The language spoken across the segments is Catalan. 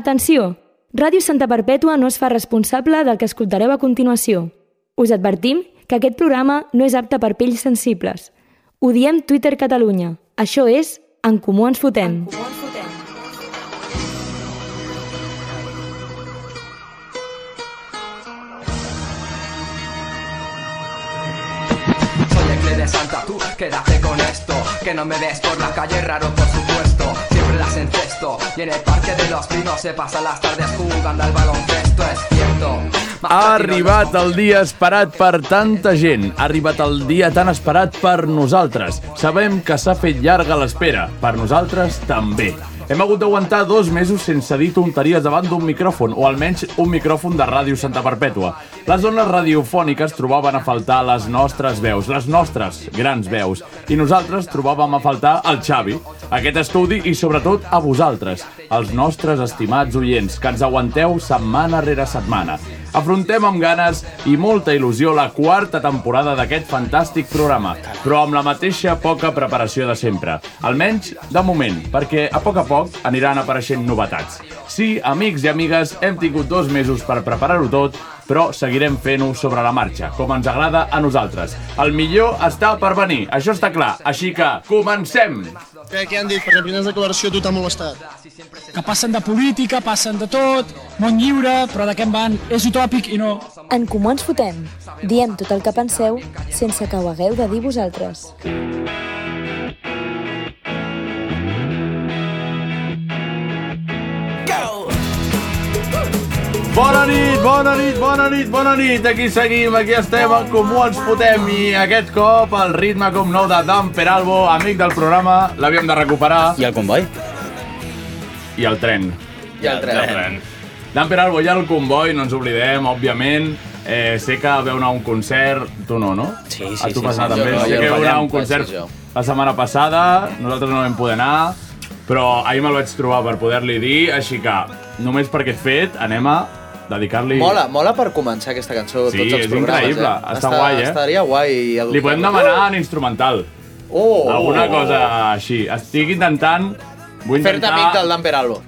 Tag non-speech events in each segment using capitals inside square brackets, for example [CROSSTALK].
Atenció! Ràdio Santa Perpètua no es fa responsable del que escoltareu a continuació. Us advertim que aquest programa no és apte per pells sensibles. Ho diem Twitter Catalunya. Això és En Comú Ens Fotem. Soy el que de Santa, tú quédate con esto. Que no me ves por la calle, raro por supuesto. Siempre las encesto. Y en el parque de los pinos se pasan las tardes jugando al baloncesto, es cierto. Ha arribat el dia esperat per tanta gent. Ha arribat el dia tan esperat per nosaltres. Sabem que s'ha fet llarga l'espera. Per nosaltres, també. Hem hagut d'aguantar dos mesos sense dir tonteries davant d'un micròfon, o almenys un micròfon de Ràdio Santa Perpètua. Les zones radiofòniques trobaven a faltar les nostres veus, les nostres grans veus. I nosaltres trobàvem a faltar el Xavi, aquest estudi i sobretot a vosaltres, els nostres estimats oients, que ens aguanteu setmana rere setmana. Afrontem amb ganes i molta il·lusió la quarta temporada d'aquest fantàstic programa, però amb la mateixa poca preparació de sempre. Almenys, de moment, perquè a poc a poc aniran apareixent novetats. Sí, amics i amigues, hem tingut dos mesos per preparar-ho tot, però seguirem fent-ho sobre la marxa, com ens agrada a nosaltres. El millor està per venir, això està clar, així que comencem! Què, què han dit? Perquè quina declaració a tu t'ha molestat? que passen de política, passen de tot, món lliure, però de què en van? És utòpic i no. En Comú Ens Fotem. Diem tot el que penseu sense que ho hagueu de dir vosaltres. Bona nit, bona nit, bona nit, bona nit. Aquí seguim, aquí estem, en comú ens fotem. I aquest cop el ritme com nou de Dan Peralbo, amic del programa, l'havíem de recuperar. I el comboi? I el tren. I el tren. Dan Peralbo, ja el comboi, no ens oblidem, òbviament. Eh, sé que veu anar a un concert, tu no, no? Sí, sí, A tu sí, vas anar sí, també. jo no, sé jo que no veu anar a fallam, un concert vaig ser jo. la setmana passada, nosaltres no vam poder anar, però ahir me'l vaig trobar per poder-li dir, així que només per aquest fet anem a dedicar-li... Mola, mola per començar aquesta cançó Sí, tots els és programes. increïble. Eh? Està guai, eh? Estaria guai. Li podem demanar en instrumental. Oh! Alguna cosa així. Estic intentant... Vull Fer-te intentar... amic del Dan Peralbo.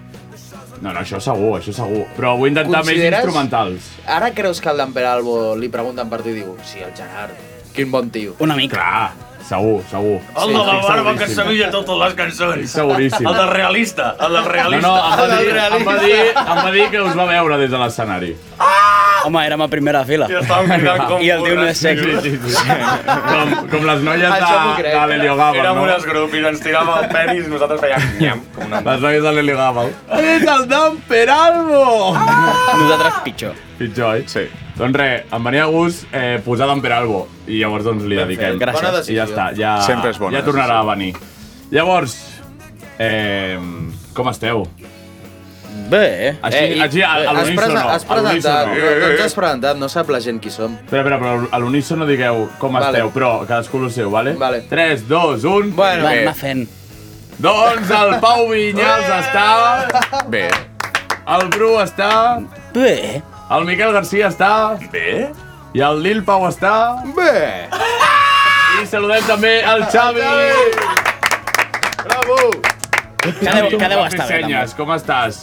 No, no, això segur, això segur. Però vull intentar Consideres- més instrumentals. Ara creus que al Dan Peralbo li pregunten per tu i diu sí, el Gerard, quin bon tio. Una mica. Clar, segur, segur. El de la Estic barba que seguríssim. sabia totes les cançons. Estic seguríssim. El del realista, el del No, realista. no, em [LAUGHS] va, dir, realista. em, va dir, em va dir que us va veure des de l'escenari. Home, érem a primera fila. I estàvem mirant com I el tio no és sec. burres, tio. Com, com les noies de, Això m'ho crec. de l'Helio Gabal, Érem no? unes grupis, ens tirava el penis i nosaltres fèiem nyam, com una... Les noies de l'Helio Gabal. És el Dan Peralbo! Ah! Nosaltres pitjor. Pitjor, oi? Sí. Doncs res, em venia a gust eh, posar d'en Peralbo i llavors doncs li dediquem. fet, bona I ja decisió. està, ja, Sempre és bona ja tornarà a venir. Llavors, eh, com esteu? Bé. Així, eh, així a, a has, l'unísono. has a presentat, l'unísono. no, no ens has presentat, no sap la gent qui som. Espera, espera, però a l'unísono digueu com Vale. esteu, però cadascú el seu, vale? Vale. 3, 2, 1... Bueno, Va, bé, va fent. Doncs el Pau Vinyals està, Bé, el Bru està, Bé. el Miquel Garcia està... Bé? I el Lil Pau està... bé, I saludem també el Xavi! bravo! Que deu, que deu Com estar bé, també. senyes, com estàs?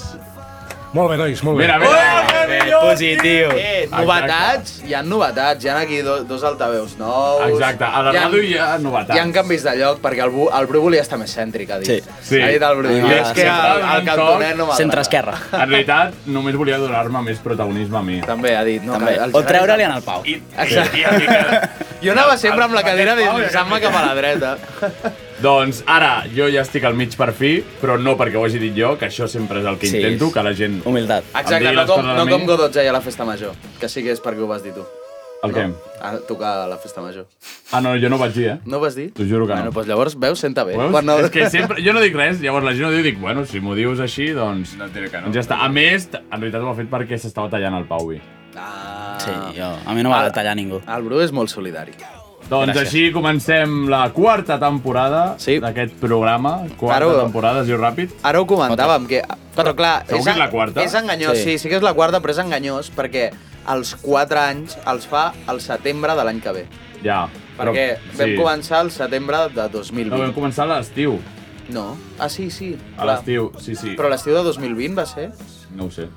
Molt bé, nois, molt bé. Mira, mira. Bé, positiu. Eh, novetats, hi ha novetats, hi ha aquí do, dos altaveus nous. Exacte, a la Hi ha- ràdio hi ha novetats. Hi ha canvis de lloc, perquè el, Bu- el Bru volia estar més cèntric, ha dit. Sí. Sí. Ha dit el Bru. I I és ara que sempre el, el donen cantonet no m'agrada. Centre-esquerra. En realitat, només volia donar-me més protagonisme a mi. També ha dit, no, També. que el O Gerard- treure-li en el Pau. I, Exacte. i, i el Miquel. Jo anava sempre amb la cadira eh?" deslizant-me cap a [LAUGHS] la dreta. Doncs ara jo ja estic al mig per fi, però no perquè ho hagi dit jo, que això sempre és el que Sí. intento, que la gent... Humilitat. Em Exacte, digui no les com, coses a no mi. com Godot ja a la festa major, que sí que és perquè ho vas dir tu. El què? No? A tocar a la festa major. Ah, no, jo no ho vaig dir, eh? No ho vas dir? T'ho juro que no. Bueno, doncs llavors, veus, senta bé. Veus? Quan no- És que sempre... Jo no dic res, llavors la gent ho diu i dic, bueno, si m'ho dius així, doncs... No et diré que no. doncs ja està. A més, en realitat ho ha fet perquè s'estava tallant el Pauvi. Ah, Sí, jo. A mi no m'ha de tallar ningú. El Bru és molt solidari. Doncs Gràcies. així comencem la quarta temporada Sí. d'aquest programa. Quarta Ara ho- temporada, es diu ràpid. Ara ho comentàvem, que... Però clar, Segur que és la quarta? És enganyós, sí. Sí. sí, sí que és la quarta, però és enganyós perquè els 4 anys els fa el setembre de l'any que ve. Ja. però- Perquè vam començar el setembre de No, vam 2020. començar a l'estiu. No, Ah, sí, sí. A clar. l'estiu, sí, sí. Però l'estiu de 2020 va ser? No ho sé.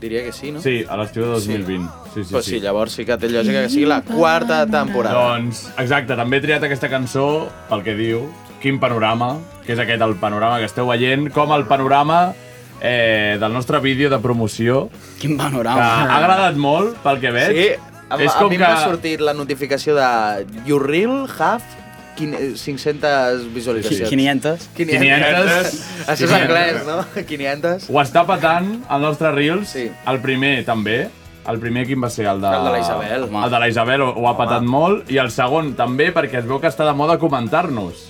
Diria que sí, no? Sí, a l'estiu de 2020. Sí, sí, Però sí, llavors sí que té lògica que sigui la quarta temporada. Doncs, exacte, també he triat aquesta cançó pel que diu, quin panorama, que és aquest el panorama que esteu veient, com el panorama eh, del nostre vídeo de promoció. Quin panorama. Que ha agradat molt, pel que veig. Ah, Sí, a, a mi m'ha sortit la notificació de You Real Have quin- 500 visualitzacions. 500. 500. 500. Això és anglès, no? 500. Ho està patant el nostre Reels, sí. el primer també. El primer quin va ser? El de, El de la Isabel. El de la Isabel ho, ho ha patat molt. I el segon també, perquè es veu que està de moda comentar-nos.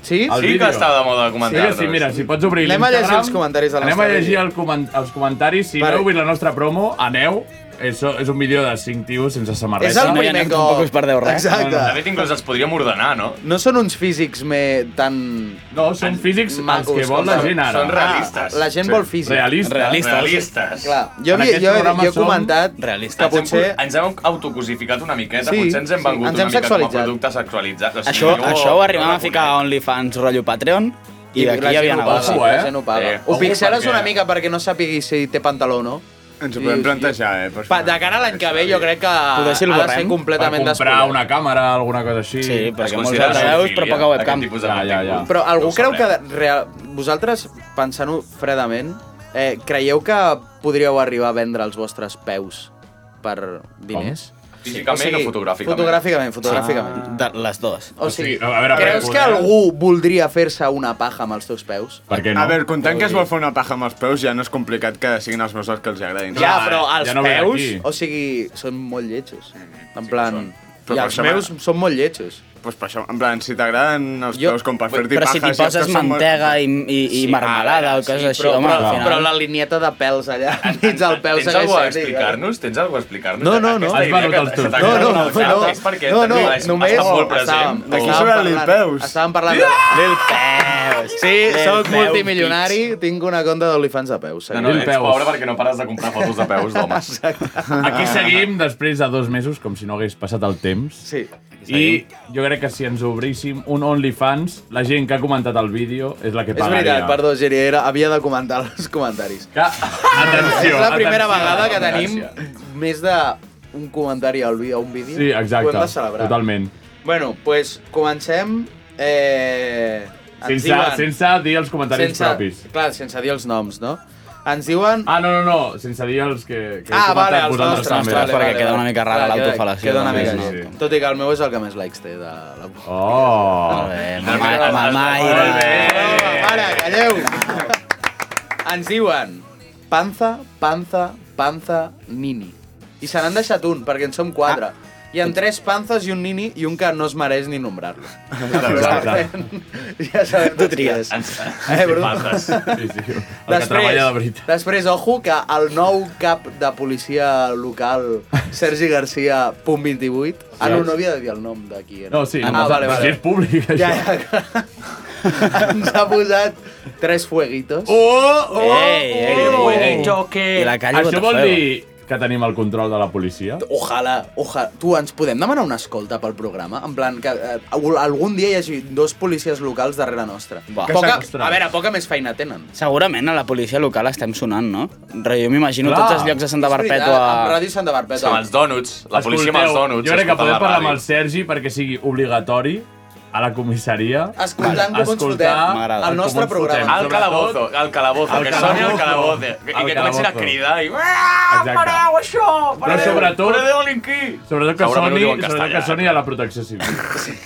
Sí? El Sí que vídeo. està de moda comentar-nos. Sí, sí, mira, si pots obrir Anem a l'Instagram... llegir els comentaris de la Anem a nostra llegir vídeo. el comen els comentaris. Si Vale. no heu vist la nostra promo, aneu. És, és un vídeo de 5 tios sense samarreta. És el primer No hi ha- cop. tampoc us perdeu res. Exacte. De fet, inclús els podríem ordenar, no? No són uns físics me, tan... No, són físics els macos que vol com la el- gent ara. Són realistes. Ah, la gent Sí. vol físics. Realistes. Realistes. Realistes. Clar, jo, En havia, aquest jo, he- programa jo he som comentat realistes. que Ens hem- potser... Ens hem autocosificat una miqueta, Sí, potser ens hem sí, vengut ens una hem mica com a sexualitzat. producte sexualitzat. O sigui, Això, jo- oh, això ho arribàvem a ficar a OnlyFans rotllo Patreon i d'aquí hi havia negoci. Ojo, eh? La gent ho paga. Eh, ho ojo, pixeles perquè- una mica perquè no sàpigui si té pantaló o no. Ens ho podem plantejar, eh? Per Pa, de cara a l'any que ve jo crec que ha de Potser si el ser borrem. completament Per comprar despullat. una càmera, alguna cosa així. Sí, perquè Es molts considera europeus, pedofilia, però poca webcam. aquest tipus de Ja, ja, ja. Però algú creu que real... vosaltres, pensant-ho fredament, eh, creieu que podríeu arribar a vendre els vostres peus per diners? Físicament o fotogràficament? Fotogràficament, fotogràficament. Ah, de les dues. O sigui, a veure, creus perquè que podem- algú voldria fer-se una paja amb els teus peus? A veure, comptant que es vol fer una paja amb els peus, ja no és complicat que siguin els meus els que els agradin. Ja, però eh, els peus, o sigui, són molt lletjos. En plan, Però i per els això- meus són molt lletjos. Doncs, Pues per això, en plan, si t'agraden els peus com per fer-t'hi Però pajas... si t'hi poses mantega i, i, i marmelada o coses així, però, home, però, al final... però la linieta de pèls allà, [LAUGHS] dins el peu Tens alguna cosa a sent igual. explicar-nos? Tens alguna cosa a explicar-nos? No, no, no. Aquesta Has idea venut que- els teus. que t'agrada No, no, molt, no. És perquè No, no, també és- només està estàvem- molt present. Aquí estàvem sobre parlant- Lilpeus. estàvàvem parlant de- Lilpeus. Sí, sóc multimilionari, tinc una conta d'OnlyFans de peus. Doncs. No, eh. no, ets pobre perquè no pares de comprar fotos de peus [LAUGHS] d'homes. Aquí seguim després de dos mesos, com si no hagués passat el temps. Sí. I jo crec que si ens obríssim un OnlyFans, la gent que ha comentat el vídeo és la que És pagaria. veritat, perdó, Geri, era, havia de comentar els comentaris. [LAUGHS] Que, atenció, És la atenció primera a la vegada que tenim democràcia. més de un comentari al vídeo, a un vídeo. Sí, Ho hem exacte. de celebrar. Totalment. Bueno, doncs pues, comencem... Eh, ens Sense, sense dir els comentaris sense- propis. Clar, sense dir els noms, no? Ens diuen... Ah, no, no, no, sense dir els que... que heu ah, comentat vale, els vosaltres nostres. també. vale, vale, vale. Clar, queda- Queda una també, mica no? així. Tot i que el meu és el que més likes té de la... Oh! Molt bé, eh, mama- mamaire. Ara, calleu! Ens diuen panza, panza, panza, nini. I se n'han deixat un, perquè en som quatre. Hi ha tres panzas i un nini i un que no es mereix ni nombrar-lo. ja sabem tu tries. Eh, Bru? Panzas. Sí, sí. [LAUGHS] El que treballa de veritat. després, ojo, que el nou cap de policia local, Sergi Garcia, punt 28, ah, no, no havia de dir el nom d'aquí. No, sí, ah, no, vale, sí, vale. és públic, això. Ja, ja, [LAUGHS] clar. Ens ha posat tres fueguitos. Oh, oh, ei, ei, oh, I eh. la calle Això Botafuego. vol dir que tenim el control de la policia? Ojalà, ojalà. Tu, ens podem demanar una escolta pel programa? En plan, que eh, algun dia hi hagi dos policies locals darrere nostra. Va. Que Poca, s'acostra. a veure, poca més feina tenen. Segurament a la policia local estem sonant, no? Re, jo m'imagino Clar. tots Ah! els llocs de Santa És veritat, Perpètua... amb Ràdio Santa Perpètua. Amb els dònuts. jo crec que podem parlar amb el Sergi perquè sigui obligatori a la comissaria. Vale. Escoltant com ens Escoltar fotem, M'agrada. com el nostre ens fotem, programa. Al calabozo, al calabozo, Al que soni calabozo. al calabozo. I Al que comencin a calabozo. cridar i... Exacte. Pareu això! Però Pareu, sobretot- pareu delinquir! Sobretot que Segurament ho soni, diu en sobretot que castellà. eh? soni a la protecció civil.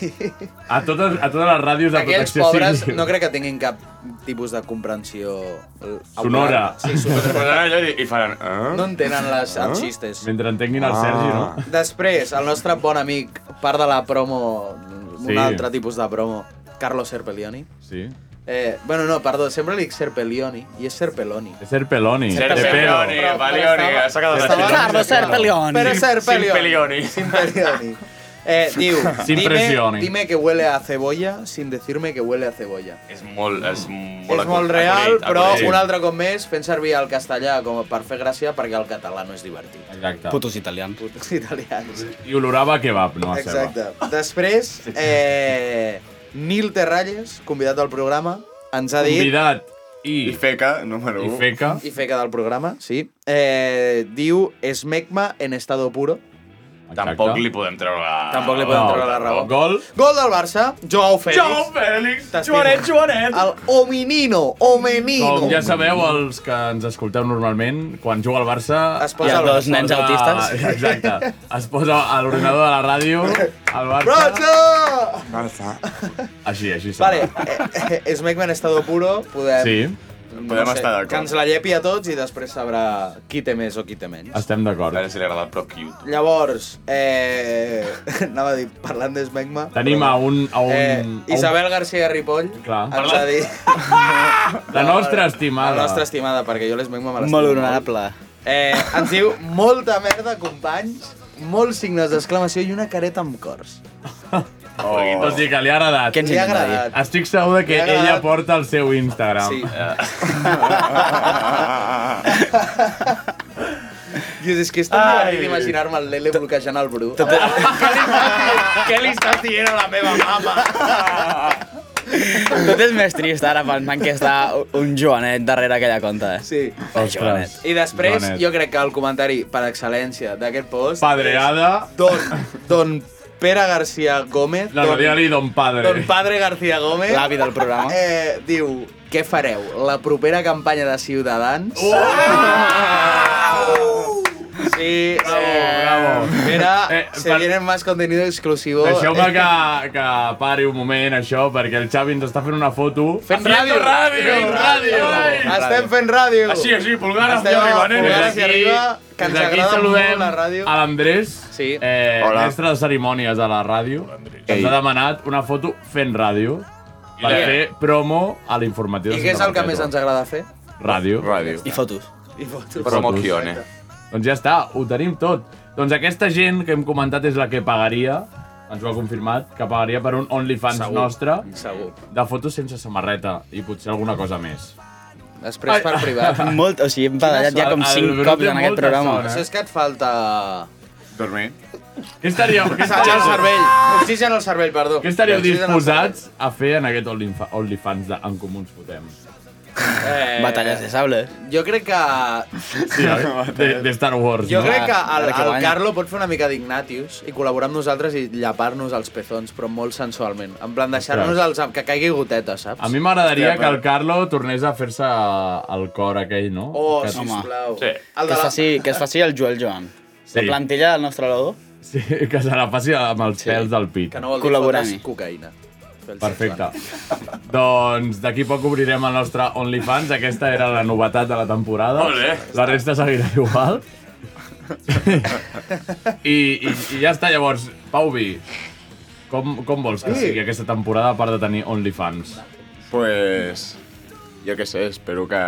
[LAUGHS] A totes, a totes les ràdios de Aquells protecció pobres civil. no crec que tinguin cap tipus de comprensió... eh, Sonora. auditiva. Sí, sonora. I faran... Eh? No entenen les, els xistes. Mentre entenguin el Sergi, no? Després, el nostre bon amic, part de la promo, un Sí. altre tipus de promo, Carlos Serpellioni. Sí. Eh, bueno, no, perdó, sempre li dic Serpellioni, i és Serpeloni. És Serpeloni. Serpeloni, Serpeloni. però- Palioni, però ha sacat estava- la Carlos Serpellioni. Però Serpellioni. Serpelioni. [LAUGHS] Serpellioni. Eh, diu, Sin dime, pressioni. dime que huele a cebolla sin decirme que huele a cebolla. És molt... Mm. És molt, És molt real, però un altre cop més fent servir el castellà com a- per fer gràcia perquè el català no és divertit. Exacte. Putos italians. Putos italians. I olorava a kebab, no a ceba. Exacte. Després, eh, Nil Terralles, convidat al programa, ens ha dit... Convidat. I... I feca, número 1. I feca. I feca del programa, sí. Eh, diu Smegma en estado puro. Tampoc li podem treure la... Tampoc li podem Ah, No, treure la raó. tampoc. Gol. Gol del Barça, Joao Félix. Joao Fèlix, T'estimo. Joanet, Joanet. El Ominino, Omenino. Com ja sabeu, els que ens escolteu normalment, quan juga al Barça... Es posa Hi ha el- Ah, dos nens es posa- autistes. Exacte. Es posa a l'ordinador de la ràdio, al Barça... Barça! Ah, Barça. Així, així. Vale, eh, eh, Smegma en estado puro, podem... Sí. Podem estar d'acord. Que ens la llepi a tots i després sabrà qui té més o qui té menys. Estem d'acord. A si li ha agradat, però cute. Llavors, eh, [LAUGHS] anava a dir, parlant d'Esmegma... Tenim a un... A un Eh, a un... Isabel García Ripoll Clar. ens ha dit... [LAUGHS] La nostra estimada. La nostra estimada, perquè jo l'Esmegma me l'estimo. Molt honorable. Eh, ens diu molta merda, companys, molts signes d'exclamació i una careta amb cors. Oh. O sigui que li ha agradat. Què ens Li ha intenta agradat. dir? Estic segur de que Li ha ella agradat. porta el seu Instagram. Sí. Eh. [LAUGHS] Dius, és que és tan Ai. divertit imaginar-me el Lele bloquejant el Bru. Què li estàs dient a la meva mama? Tot és més trist ara pensant que està un Joanet darrere aquella conta. eh? Sí. Ostres. Joanet. I després, Donet. jo crec que el comentari per excel·lència d'aquest post... Padreada. és Don, don Pere García Gómez... No, no, digue-li Don Padre. Don Padre García Gómez... L'avi del programa. Eh, diu, què fareu? La propera campanya de Ciutadans? Uh! Oh! Sí, bravo, eh, bravo. Mira, eh, se viene más contenido exclusivo. Eh, Deixeu-me que, que pari un moment, això, perquè el Xavi ens està fent una foto. Fent ràdio. Fent ràdio. Estem fent ràdio. Així, així, pulgar hacia Estem arriba, amb nene. Pulgar Des hacia d'aquí- arriba, que ens des d'aquí agrada molt saludem la ràdio. A l'Andrés, sí. eh, Hola. mestre de cerimònies a la ràdio, que ens Ei. ha demanat una foto fent ràdio per I- fer promo a l'informatiu. I de què és Santa el que Perpètua. més ens agrada fer? Ràdio. Ràdio. I fotos. I fotos. Promozione. Doncs ja està, ho tenim tot. Doncs aquesta gent que hem comentat és la que pagaria, ens ho ha confirmat, que pagaria per un OnlyFans Segur. nostre Segur. de fotos sense samarreta i potser alguna cosa més. Després per [LAUGHS] privat. Ah. Molt, o sigui, hem badallat ja com Quina sort. 5 El Bruno cops té en aquest molta programa. sort, eh? Això és que et falta... Dormir. Què estaríeu, què Oxigen al estaríeu, cervell. Oxigen al cervell, perdó. què estaríeu Oxigen al disposats a fer en aquest Onlyfa- OnlyFans de En Comuns [LAUGHS] Fotem? cervell. Eh, Batalles de sables. Jo crec que... Sí, oi? de, de Star Wars, Jo no? crec que el, Perquè el guanya. Carlo pot fer una mica d'Ignatius i col·laborar amb nosaltres i llapar-nos els pezons, però molt sensualment. En plan, deixar-nos els... que caigui goteta, saps? A mi m'agradaria que el Carlo tornés a fer-se el cor aquell, no? Oh, que... sisplau. Sí. El Que de es la- faci, que es faci el Joel Joan. Sí. La plantilla del nostre logo. Sí, [LAUGHS] que se la faci amb els pèls del pit. Que no vol dir Col·laborant-hi. fotes cocaïna. Fer el Perfecte. [LAUGHS] doncs d'aquí poc obrirem el nostre OnlyFans. Aquesta era la novetat de la temporada. Molt bé. La resta seguirà igual. I, i, I ja està, llavors, Pau Vi, com, com vols que Sí. sigui aquesta temporada a part de tenir OnlyFans? Pues... Jo què sé, espero que,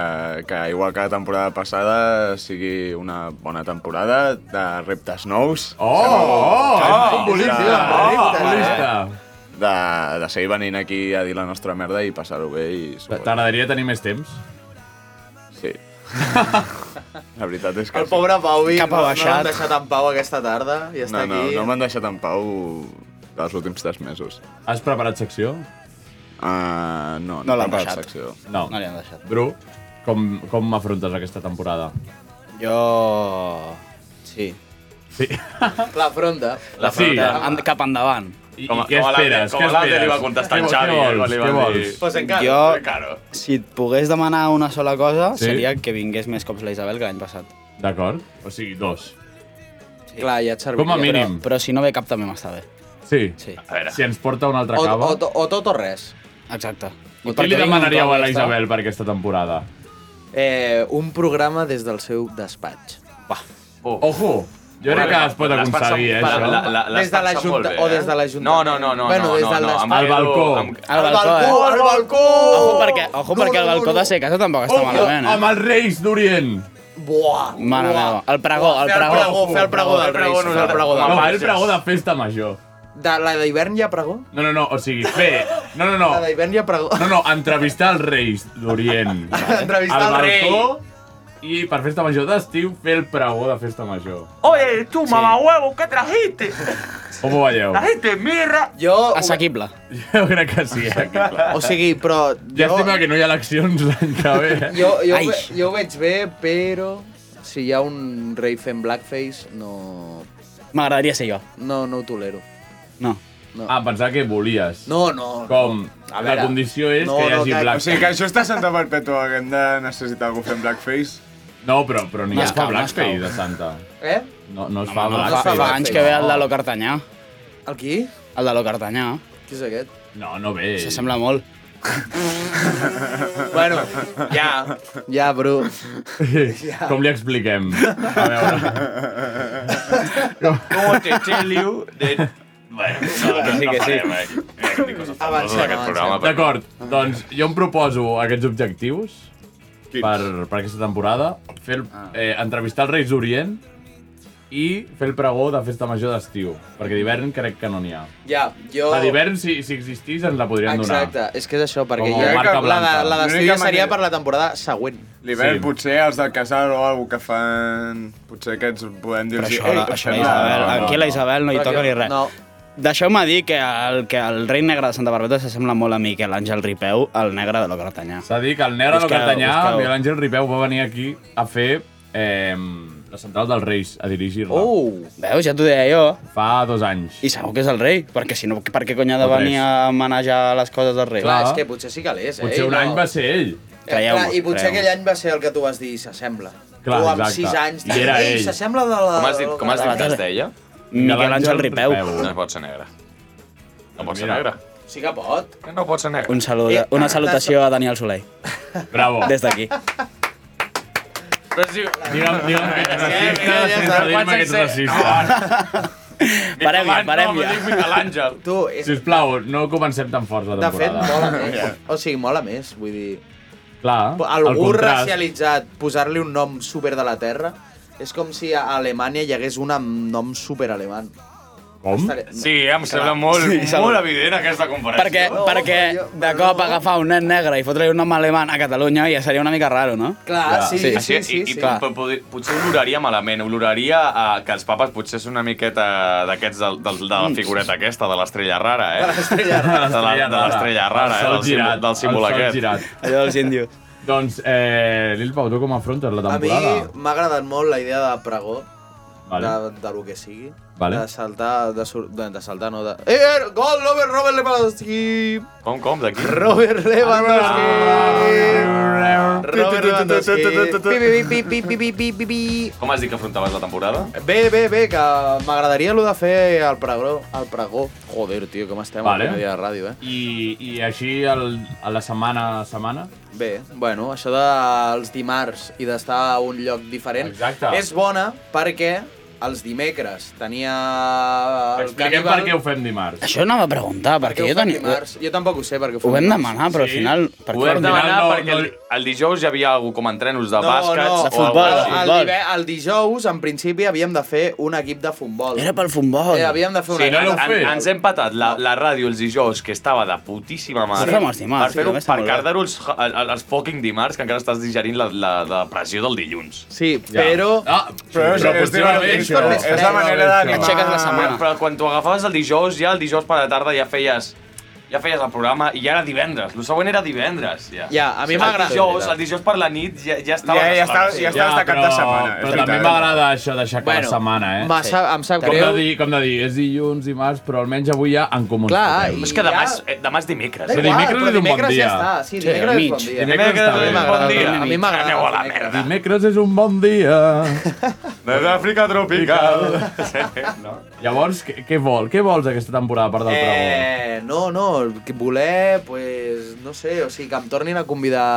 que igual que la temporada passada sigui una bona temporada de reptes nous. Oh, oh, futbolista, oh, futbolista. De, de seguir venint aquí a dir la nostra merda i passar-ho bé i... T'agradaria tenir més temps? Sí. [LAUGHS] la veritat és que... Oh. El pobre Pau Vic, Cap no, no abaixat. l'han deixat en pau aquesta tarda i No, està no, aquí. no m'han deixat en pau dels últims tres mesos. Has preparat secció? Uh, no, no, No he l'han preparat deixat. Secció. No. No li han deixat. Bru, com, com m'afrontes aquesta temporada? Jo... Sí. Sí. [LAUGHS] La fronta. La Sí. fronta. En, cap endavant. I, i què esperes? com a l'Ander li va contestar en Què- Xavi, Què vols? li va Què dir- vols? Pues encara. Jo- Jo, si et pogués demanar una sola cosa, Sí. sí. seria que vingués més cops la Isabel que l'any passat. D'acord. O sigui, dos. Clar, ja et serviria. Com a mínim. Però, però si no ve cap també m'està bé. Sí. Sí. A veure. Si ens porta una altra O, cava... o, to- o tot o res. Exacte. I què li demanaríeu a la Isabel per aquesta temporada? Eh, un programa des del seu despatx. Va. Oh. Oh. Ojo! Jo crec que es pot aconseguir, eh, això. Des de la Junta, o des de la Junta. eh? No, no, no, no. Bueno, no, des del no, despatx. em Al quedo balcó. amb- Al Al balcó, balcó, eh? al balcó! Ojo perquè, ojo perquè el balcó de ser casa tampoc està Ojo, malament, eh? Amb els Reis d'Orient! Buah, Mare buah. meva, el pregó, el Fer el pregó. pregó, fer el pregó del Reis. Fer el pregó del No, Reis. el pregó de festa major. De la d'hivern hi ha pregó? No, no, no, o sigui, fer... No, no, no. La d'hivern hi ha pregó. No, no, entrevistar els Reis d'Orient. [LAUGHS] Entrevistar Al el rei. balcó I per festa major d'estiu fer el pregó de festa major. Oye, tú, mamá huevo, ¿qué trajiste? Com ho veieu? Ai, te mira! Jo... Assequible. [LAUGHS] Jo crec que sí, eh? Ah, O sigui, però... Llàstima que no hi ha eleccions l'any que ve. eh? Jo, jo, ve, jo ho veig bé, però si hi ha un rei fent blackface, no... M'agradaria ser jo. No, no ho tolero. No. No. Ah, pensava que volies. No, no. Com? A La veure. condició és No, que hi no, hagi que- black. O sigui que això està a Santa Perpètua, que hem de necessitar algú fent blackface. No, però, però ni No no es es fa cau, no es blackface cau. de Santa. Eh? No, no es Home, fa no, blackface. fa anys que ve el de Lo Cartanyà. El qui? El de Lo Cartanyà. Qui és aquest? No, no ve. S'assembla molt. bueno, ja. Ja, bro. Ja. [LAUGHS] Com li expliquem? A veure. ¿Cómo te tell you de... Bueno, no, Que sí, que sí. Avancem, d'aquest programa, avancem. però- D'acord, doncs jo em proposo aquests objectius Quins? per, per aquesta temporada. Fer el, eh, entrevistar els Reis d'Orient i fer el pregó de festa major d'estiu, perquè d'hivern crec que no n'hi ha. Ja, jo... La d'hivern, si, si existís, ens la podrien donar. Oh. Exacte, és que és això, perquè Com ja... marca la de, blanca. la d'estiu L'única ja seria manera- per la temporada següent. L'hivern Sí. sí. potser els del casal o alguna que fan... Potser aquests podem Però dir-los... això, la, això la Isabel, aquí la Isabel no hi toca ni res. No. Deixeu-me dir que el, que el rei negre de Santa Barbeta s'assembla molt a Miquel Àngel Ripeu, el negre de Lo Cartanyà. S'ha dit que el negre de Cartanyà, Miguel Àngel Ripeu, va venir aquí a fer eh, la central dels Reis, a dirigir-la. Oh! Veus, ja t'ho deia jo. Fa dos anys. I segur que és el rei, perquè si no, per què cony ha de O tres. venir a manejar les coses del rei? Clar, és que potser sí que l'és, eh? Potser un no. any va ser ell. Eh, clar, I potser aquell aquell any va ser el que tu vas dir, s'assembla. Clar, tu amb exacte. 6 anys... I era "Ei, ell. S'assembla de la... Com has dit, com has dit que es deia? Miquel Àngel eh? Ripeu. No pot ser negre. No pot ser Mira. negre. Sí que pot. No pot ser negre. Un salut, una salutació a Daniel Soler. Bravo. Des [LAUGHS] d'aquí. Però si... Digue'm, digue'm que ets racista ja sense està. dir-me que ets racista. Parem ja, parem ja. L'Àngel. Tu, és... Sisplau, no comencem tan forts la De fet, temporada. mola [LAUGHS] més. O sigui, mola més, vull dir... Clar, el Algú contrast. racialitzat, posar-li un nom super de la Terra, és com si a Alemanya hi hagués una amb nom super alemán. Com? Sí, em sembla molt, molt evident aquesta comparació. Perquè, perquè de cop agafar un nen negre i fotre-li un nom alemany a Catalunya ja seria una mica raro, no? Ah, Així, i, i, Clar. pot- pot- potser oloraria malament, oloraria a que els papes potser és una miqueta d'aquests del, del, de Mm. la figureta aquesta, de l'estrella rara, eh? De l'estrella rara. De la- de l'estrella rara, eh? Del, símbol, del símbol el sol aquest. Girat. Allò dels índios. Doncs, eh, Lil Pau, tu com afrontes la A mi temporada? m'ha agradat molt la idea de pregó, Vale. de, de lo que sigui, Vale. de saltar, de, sur... de, de saltar, no, de... Eh, eh, gol, Robert, Robert Lewandowski! Com, com, d'aquí? Robert Lewandowski! Robert Lewandowski! Pi, pi, pi, pi, pi, pi, pi, pi, pi. Com has dit que afrontaves la temporada? Bé, bé, bé, que m'agradaria lo de fer el pregó, el pregó. Joder, tio, com estem Vale. al primer dia de ràdio, eh? I, i així el, a la setmana a setmana? Bé, bueno, això dels dimarts i d'estar a un lloc diferent Exacte. és bona perquè els dimecres tenia el Expliquem per què ho fem dimarts. Això anava a preguntar, perquè jo, jo tenia... dimarts. jo tampoc ho sé perquè ho Ho fem vam dimarts. demanar, però al final... per Ho què? vam demanar perquè el, el dijous hi havia algú com entrenos de bàsquet o El, alguna cosa el, dive, el dijous, en principi, havíem de fer un equip de futbol. Era pel futbol. Eh, havíem de fer una... en, ens hem patat la, la ràdio els dijous, que estava de putíssima mare. Sí. Ho fem els dimarts, Per fer-ho sí, per molt bé. cardar-ho els, els, els fucking dimarts, que encara estàs digerint la, la, la pressió del dilluns. Sí, però... Ah, però és- és divertit, però és la manera d'animar- Aixeques la setmana. Però quan t'ho agafaves el dijous, ja el dijous per la tarda ja feies ja feies el programa i ja era divendres. El següent era divendres, ja. Ja, a mi El m'agrada. dijous, el dijous per la nit ja, ja estava... Ja- ja estava- ja estaves de cap de setmana, és Però veritat. també m'agrada això d'aixecar bueno, Bueno, la setmana, eh? me sap- em sap com greu. De dir, com de dir, és dilluns, dimarts, però almenys avui ja en comú. ens Clar, fotem. i És que demà ja- és- Eh, Demà és dimecres. Però dimecres és un bon dia. Sí, dimecres és bon dia. Dimecres Dimecres és és un bon dia. A mi m'agrada. Aneu a la dimecres. merda. Dimecres és un bon dia. Des d'Àfrica tropical. no. Llavors, què, què vol? Què vols aquesta temporada per del eh... Eh, no, no, que voler, pues, no sé, o sigui, que em tornin a convidar